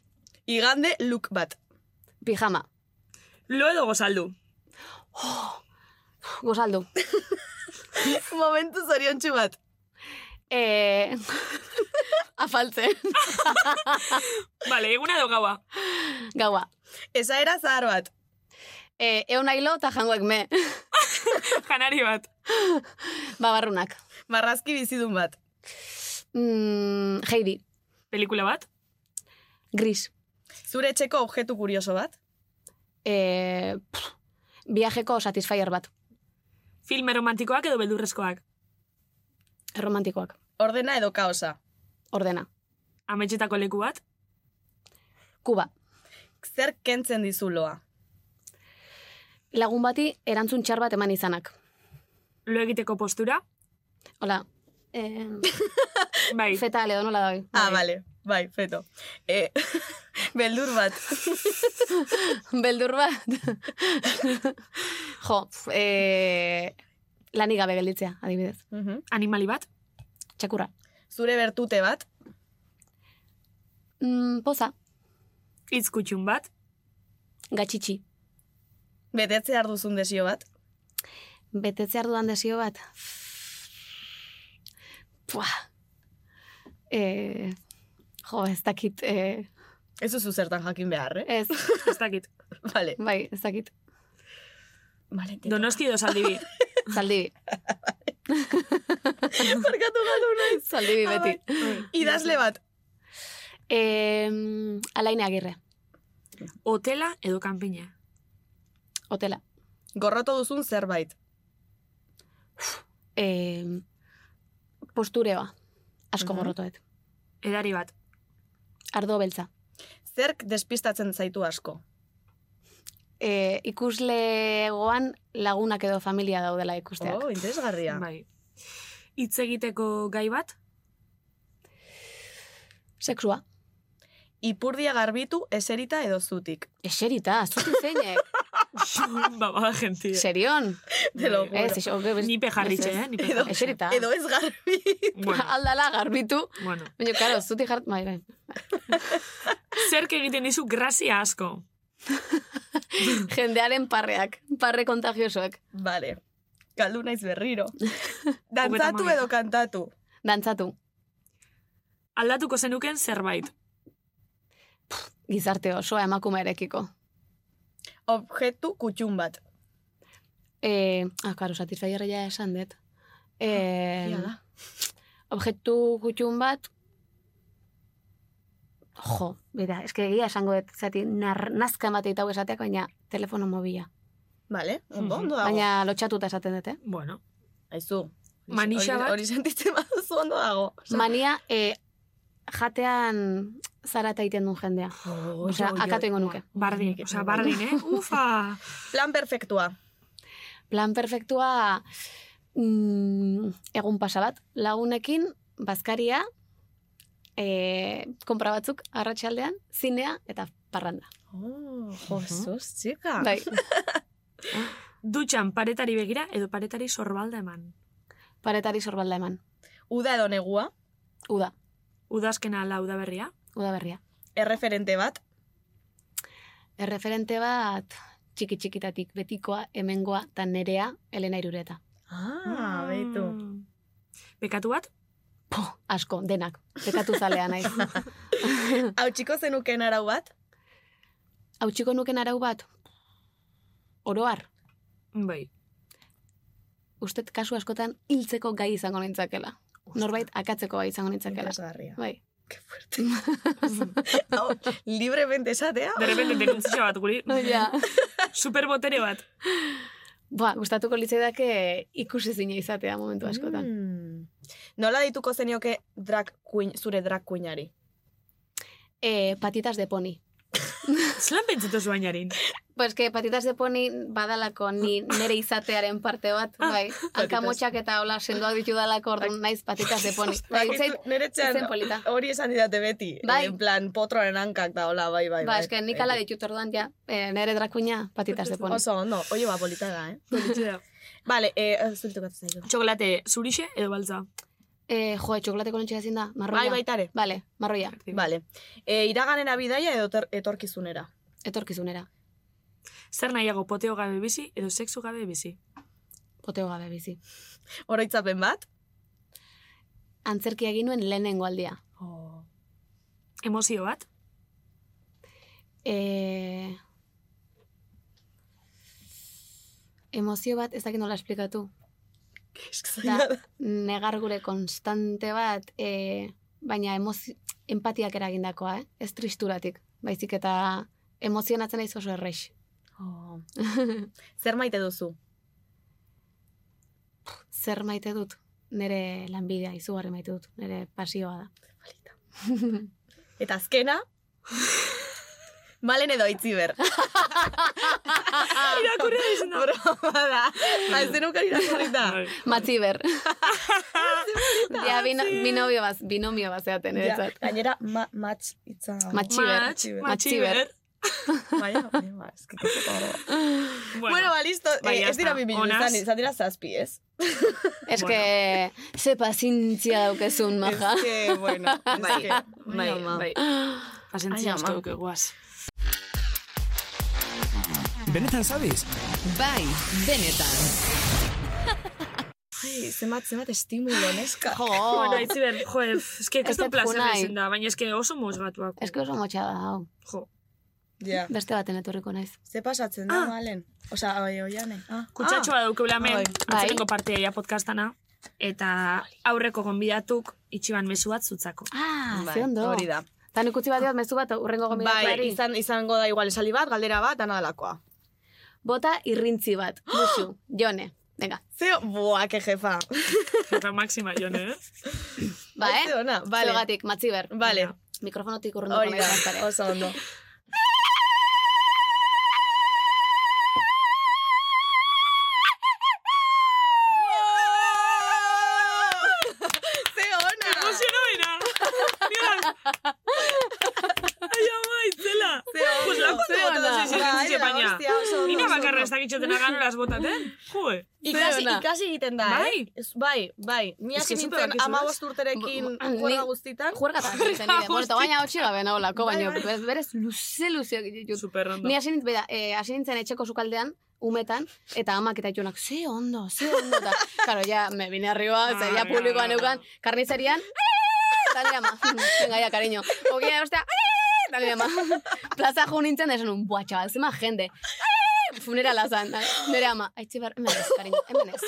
igande look (laughs) bat,
Pijama.
lo edo gozaldu,
Gozaldu.
momentu zorion bat,
Eh... (laughs) Afaltzen. (laughs)
Vale, eguna edo gaua.
Gaua.
esaera zahar bat,
Eh, eun ailo eta jangoek me.
Janari bat.
Babarrunak.
marrazki bizidun bat,
Mm, Heidi.
Pelikula bat.
Gris.
zure etxeko objektu kurioso bat,
Eh, pff, viajeko satisfier bat.
Filme romantikoak edo beldurrezkoak.
Romantikoak.
ordena edo kaosa,
Ordena.
Ametxetako leku bat.
Kuba.
zer kentzen dizuloa?
Lagun bati erantzun txar bat eman izanak.
Lo egiteko postura?
Hola, eh,
Bai.
feta edo nola doi.
Ah, bale, bai, feto. E, (laughs) beldur bat,
(laughs) Beldur bat. (laughs) jo, eh, lanik gabe gelditzea, adibidez.
Mhm.
Animali bat?
Txakurra.
zure bertute bat,
Mm, poza,
Itz kutxun bat?
gatxitxi.
betetze arduzun desio bat,
Betetze arduan desio bat. Pua. Eh, jo, ez dakit. Eh,
ez duzu zertan jakin behar, eh?
ez,
Ez dakit.
Bale.
bai, ez dakit.
Bale, te-
Donosti edo zaldibi.
Zaldibi.
Barkatu galdu naiz.
Zaldibi beti.
Idazle bat,
Eh, alaine agirre.
Hotela edo kanpina.
Hotela.
gorroto duzun zerbait,
Eh, postureoa. ba, Asko
Mhm.
gorrotoet.
Edari bat.
Ardo beltza.
zerk despistatzen zaitu asko,
Eh, ikuslegoan lagunak edo familia daudela ikusteak.
Oh, interesgarria.
Bai. Hitz egiteko gai bat?
Sexua.
Ipurdia garbitu eserita edo zutik.
Eserita, zuti (laughs) zeinek.
ba, ba, gentia.
Serion.
Te lo juro.
Ez, eso, ge-
Nipe jarritxe,
ez, ez.
eh? Nipe
Edo,
jarritxe.
Eserita.
edo ez garbi. (laughs)
(laughs) Bueno,
Aldala garbitu.
bueno.
Baina, karo, zuti jart... Bai, bai.
Zerk egiten dizu grazia asko.
Jendearen parreak. Parre kontagiosoak.
Vale. Galdu naiz berriro. Dantzatu
Hogeita hamabi.
edo kantatu.
Dantzatu.
Aldatuko zenuken zerbait.
Gizarte osoa emakumearekiko.
Objektu kutxun bat.
Eh, ah, karo, satisfaierra ja esan dut. Eh,
Ia da.
objektu gutxun bat, jo, bera, eske egia esango dut, zati, nar, nazka emate ditau esateak, baina telefono mobila.
Vale, ondo,
Mhm.
ondo dago.
Baina lotxatuta esaten dut, eh?
Bueno.
Aizu.
Manixa
hori-
bat?
Hori sentitzen (laughs) baduzu ondo dago. Osea,
Mania, eh, jatean zara eta egiten duen jendea. Osea, Oh, akatu ingo nuke.
Bardin, osea, bardin, eh? Ufa!
Plan perfektua.
Plan perfektua mm, egun pasa bat. Lagunekin, bazkaria, eh, konpra batzuk, arratsaldean, zinea eta parranda.
Oh, jozuz, txika.
Bai,
Dutxan paretari begira edo paretari sorbalda eman.
paretari sorbalda eman.
Uda edo negua,
Uda,
Udazkena ala udaberria.
uda berria.
erreferente bat,
Erreferente bat txiki txikitatik betikoa, hemengoa eta nerea Elena Irureta.
Ah, beitu.
Mm. Bekatu bat?
Po, asko, denak. Bekatu zalea naiz.
Hau txiko zenuken arau bat,
Hautsiko nuken arau bat. Oroar,
Bai. (laughs)
ustet kasu askotan hiltzeko gai izango nintzakela. Norbait akatzeko gai izango nintzakela. (laughs)
interesgarria.
Bai. (laughs)
Hau, libremente esatea,
De repente denuntzio bat guri.
Bai, Ja.
Superbotere bat.
Ba, gustatuko litzaidake ikusi zine izatea momentu askotan.
Mm. Nola dituko zenioke drag queen, zure drag queenari?
Eh, patitas de poni.
Zelan pentsatu zuainarin?
Pues que patitas de poni badalako ni
(laughs)
nere izatearen parte bat,
Ah,
bai. Alkamotxak eta hola sendoak ditudalako orduan naiz patitas de poni. Bai, itzait,
Nire
itzen polita.
hori esan didate beti.
Bai.
En plan, potroaren hankak da, hola, bai, bai.
ba,
bai.
eske nik ala ditut orduan ja, eh, nere drakuina patitas de poni.
Oso, ondo, oio ba, polita da, eh? Vale, eh, zuritu katzen zaitu.
Txokolate zurixe edo baltza.
Eh, jo, txokolateko lentsia ezin da, marroia.
Bai, baitare.
Vale, marroia,
Vale. Eh, iraganera bidaia edo ter- etorkizunera.
etorkizunera.
Zer nahiago poteo gabe bizi edo sexu gabe bizi.
Poteo gabe bizi.
Oroitzapen bat?
Antzerkia egin nuen lehenengo aldia.
Oh.
Emozio bat.
Eh, emozio bat, ez dakit nola esplikatu. Da, negar gure konstante bat, eh, baina emozio, empatiak eragindakoa, eh? ez tristuratik. Baizik eta emozionatzen naiz oso errex.
Oh. (laughs) Zer maite duzu?
(laughs) Zer maite dut? Nere lanbidea, izugarri maite dut. (laughs) Nere pasioa da.
Eta azkena? Malen edo itziber. Irakurri da izan da. Broma da. Ba, Aizen ukan irakurrita.
Bai.
Matziber.
(laughs)
ja, bino, binomio bat, binomio bat zeaten,
Ja,
niretzat.
gainera, ma, match itza. Bai,
Matxiber.
Match,
Matxiber.
matxiber.
Baina, baina, ez que kezeko horro.
Bueno,
Bueno, ba, listo.
Bai,
Eh,
ya
ez dira
está.
bi bilu,
Honaz.
izan, izan dira zazpi, ez?
Ez que, ze pazientzia daukezun, maja.
Ez que, bueno, ez que,
Bai, bai.
pasentzia
Ai, ama.
asko duke guaz.
Benetan zabiz?
Bai, benetan.
Ai, Zenbat, zenbat estimulo, neska.
Jo,
Bueno, itziber, jo, ez que
Ez dut
kesto placer
junai.
izan da, baina ez que oso moz bat
ez que oso motxa da, hau.
Jo,
Ja.
Beste baten etorriko naiz.
Ze pasatzen da, malen? Osa, oi, oiane. Ah.
kutsatxoa ah, daukeula men,
Bai.
atzeneko partea ja podcastana, eta aurreko gonbidatuk itxiban mesu bat zutzako.
Ah,
Bai,
ze ondo.
Hori da.
Tan ikutzi bat diot, mezu bat urrengo
Bai,
gomidatuari.
izan, izango da igual esaldi bat, galdera bat, dana dalakoa.
Bota irrintzi (gasps) bat, musu, jone. Venga,
Zeo, buah, que jefa.
Eta maxima jone, eh?
ba, eh?
Haize ona, vale.
Zugatik, matziber.
Vale,
Mikrofonotik urrenduko
hori da,
naiz bazkare.
oso ondo. Zeo ona!
Zenoena! Mira! Ai, ama, itzela! Pues lako
Zeo
bota da
ona.
zizien
Bai,
zizien
da,
baina.
hostia, oso ondo,
Nina
oso
bakarra
ondo.
ez dakitxotena ganoraz botaten? Jue!
Bai, Ikasi,
ona.
ikasi egiten da,
Bai.
eh? Ez- Bai, bai. Ni
Ez que
hasi
zuk
nintzen
badakizu,
ama
Bu-
urterekin
bu-
juerga
ni-
guztitan. (laughs)
Juergatan zen nire. Bueno, eta baina hotxe gabe naholako,
Bai,
baina
bai.
bez- berez luze luzeak ditut.
Super ondo.
Ni hasi nintzen, bera, eh, hasi nintzen etxeko sukaldean, umetan, eta amak eta itunak, ze ondo, ze ondo, eta, karo, ja, me vine arriba, eta
Ah,
ja publikoan
claro.
neukan, karnizerian, eta nire ama, (laughs) venga, ja, cariño, okia, ostia, eta nire ama, (laughs) plaza jo nintzen, da esan un, bua, txabal, zema jende, funerala zan, da, nire ama, aitzi bar, hemen ez, cariño, hemen ez.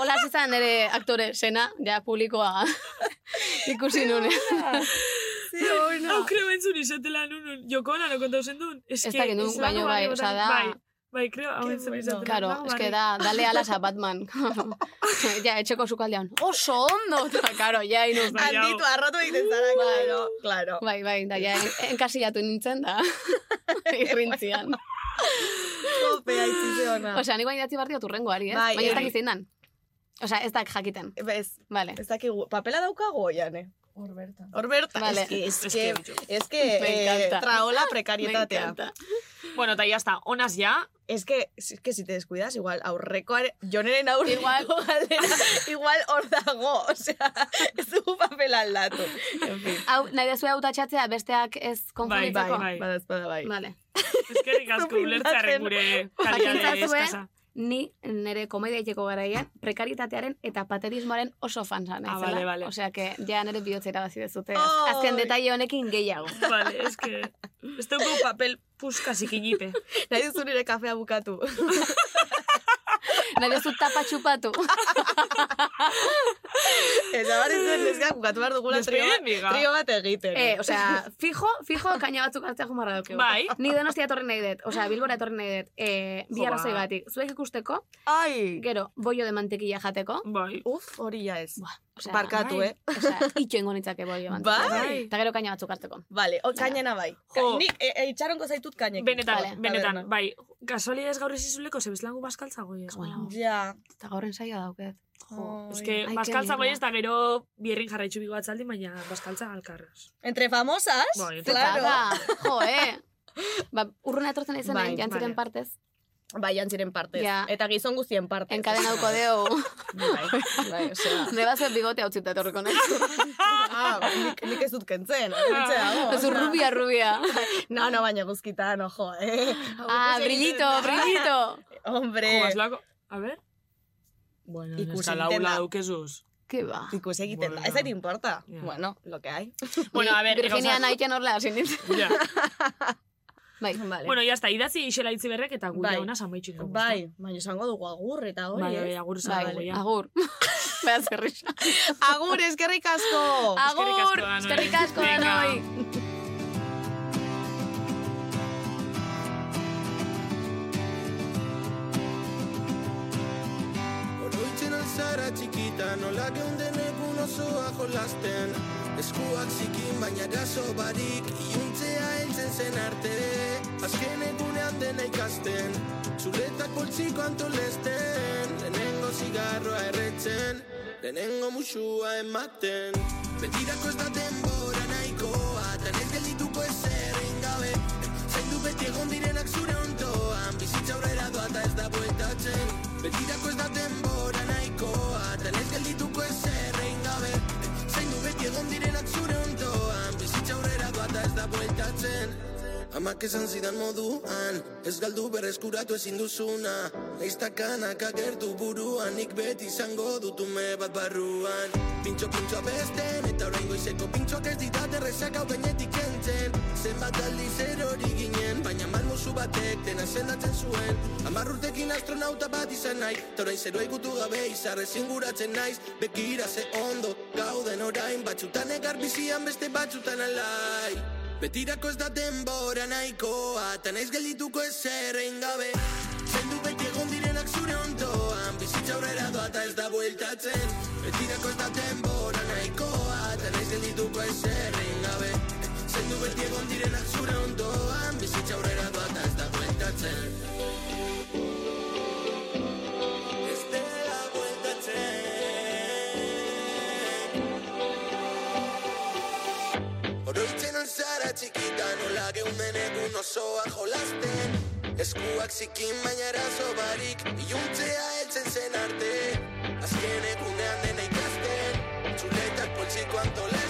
Hola, hasi zan nire aktore sena, ja, publikoa (laughs) ikusi nune.
Hau creo entzun izatela nun, joko hona, no kontau zendun. Ez
Ez dakit nun, baino bai, osea, da-
Bai, bai, creo, hau
Ke
entzun
bueno.
izatela. Ba,
Claro, es que da, dale alas a Batman. (laughs) ja, etxeko sukaldean. Oso ondo! (laughs) Eta, Karo, ja, inuz.
Bai, hau.
Handitu, arrotu egiten zara,
Bai.
claro, claro.
Bai, bai, da, ja, en- enkasillatu nintzen, da. Bai, Irrintzian.
Kope, aitzize ona.
Osea, nik bain idatzi barri turrengoari, eh?
Bai,
Baina ez
eh.
dakit zein dan. Osea, ez dak jakiten.
Ez,
Vale.
ez dakigu, papela daukago oian, eh? Hor bertan.
Vale.
Es que, es
Es
que,
que-
es que,
Me
eh,
encanta.
traola
(laughs) Me
prekarietatea.
encanta.
Bueno, eta ya está, honaz ya,
Es que, es que si te descuidas, igual aurrekoare, joneren aurreko
Igual.
(laughs) galdera, igual hor dago, (laughs) osea, ez dugu papel aldatu. En fin.
Hau, nahi dezu hau tatxatzea besteak ez
bai, bai,
konfunditzeko?
bai.
Badazpada bai.
Vale.
Eskerrik asko ulertzearen gure kalidade
Jakintzazue.
eskasa.
Ni nire komedia iteko garaian prekaritatearen eta paterismoaren oso fan zan.
Ah, vale, vale.
Osea, que ja nire bihotzera bazi dezute.
Ai.
Azken detaile honekin gehiago.
Vale, es que... Ez dugu papel puskazik inipe.
Nahi duzu nire kafea bukatu. (laughs)
Nahi dezu tapa txupatu.
Eta barri zen, neskak bukatu behar dugula trio, bat-
Despiden, biga.
trio bat egiten.
(laughs) Eh, osea, fijo, fijo, kaina batzuk hartzea jumarra daukegu.
Bai.
Ni donostia etorri nahi dut, osea, bilbora etorri nahi dut, eh, bi
Jo, ba.
arrazoi gatik. Zuek ikusteko,
(laughs) Ai!
gero, bollo de mantequilla jateko.
Bai.
Uf, hori ja ez.
Buah, osea,
Barkatu,
bai.
eh?
Osea, itxo ingo nitzake bollo de mantequilla.
Bai.
Eta gero kaina batzuk hartzeko.
Vale, o, kainena bai.
Jo.
Nik e, e, itxarongo zaitut kainekin.
Benetan,
Vale,
benetan,
taberna.
bai. Gasolidez gaur izizuleko, zebizlangu baskaltza goi ez.
Bueno,
Ja.
eta gaurren saioa dauket.
Jo,
Ai.
es que
Ai,
baskaltza
qué
goi
mierda.
ez da gero bierrin jarraitzu bigo atzaldi, baina baskaltza alkarraz.
Entre famosas,
Bai, entre
claro.
Tada, jo, eh. Ba, urruna etortzen izan
Bai,
bai, jantziren
vale.
partez,
Bai, antziren partez.
Ja.
Eta gizon guztien partez.
enkadenauko deu,
(laughs) Bai, bai, osea.
ne bat bigote hau zita etorriko
(laughs)
nahi.
Ah, nik, nik ez dut
(laughs)
kentzen. agurtze dago,
Ez
osea.
rubia, rubia.
No, no, baina guzkitan, ojo, eh.
Ah,
Agurtze egiten
brillito,
da.
brillito.
Jo,
Hombre.
baslako... A ver... Bueno,
Ikusi
neska
egiten da.
laula daukezuz.
Ke ba.
Ikus egiten da.
Bueno.
Ez zait importa.
Ja.
Bueno, lo que hay.
Bueno, a ver,
Virginia
gauza-
nahiken horla hasi nintzen.
Ja.
Bai,
Vale.
Bueno, ya está, idatzi isela itzi berrek eta gure
Bai.
ona samaitxiko.
bai, baina esango dugu agur eta hori, eh.
Bai,
ez?
bai, agur
bai,
zago, ja.
agur. (laughs) Beha zerrisa.
Agur, eskerrik
Oh,
asko!
Agur,
asko, Danoi.
eskerrik asko
Venga.
danoi.
Oroitzen alzara txikita, nola geundenek unozo ajo lasten Eskuak zikin baina gaso barik, iuntzea zaintzen zen arte Azken egunean dena ikasten Zuretak poltsiko antolesten Lehenengo zigarroa erretzen Lehenengo musua ematen Betirako ez da denbora nahikoa Tan ez geldituko ezer egin gabe Zaindu beti egon direnak zure ondoan Bizitza aurrera doa eta ez da bueltatzen Betirako ez da denbora nahikoa Tan ez geldituko ezer egin gabe Zaindu beti egon direnak zure ondoan Bizitza aurrera doa eta ez da bueltatzen Amak esan zidan moduan Ez galdu berreskuratu ezin duzuna Neiztakanak agertu buruan Nik beti izango dut ume bat barruan Pintxo pintxo abesten Eta orain goizeko pintxoak ez didate Rezak hau gainetik entzen Zenbat aldiz erori ginen Baina malmuzu batek dena zendatzen zuen Amar urtekin astronauta bat izan nahi Eta orain zero ikutu gabe izarrez inguratzen naiz Bekira ze ondo gauden orain Batzutan egar bizian beste batzutan alai Betirako ez da denbora nahikoa Eta naiz geldituko ez errein gabe Zendu beti egon direnak zure ondoan Bizitza aurrera doa eta ez da bueltatzen Betirako ez da denbora nahikoa Eta naiz geldituko ez errein gabe Zendu beti egon direnak zure ondoan Bizitza aurrera doa eta ez da bueltatzen Ez dela bueltatzen Oroitzen alzara txikita nola geunden egun osoa jolasten Eskuak zikin baina eraso barik Iuntzea heltzen zen arte Azken egunean dena ikasten Txuletak poltsiko antola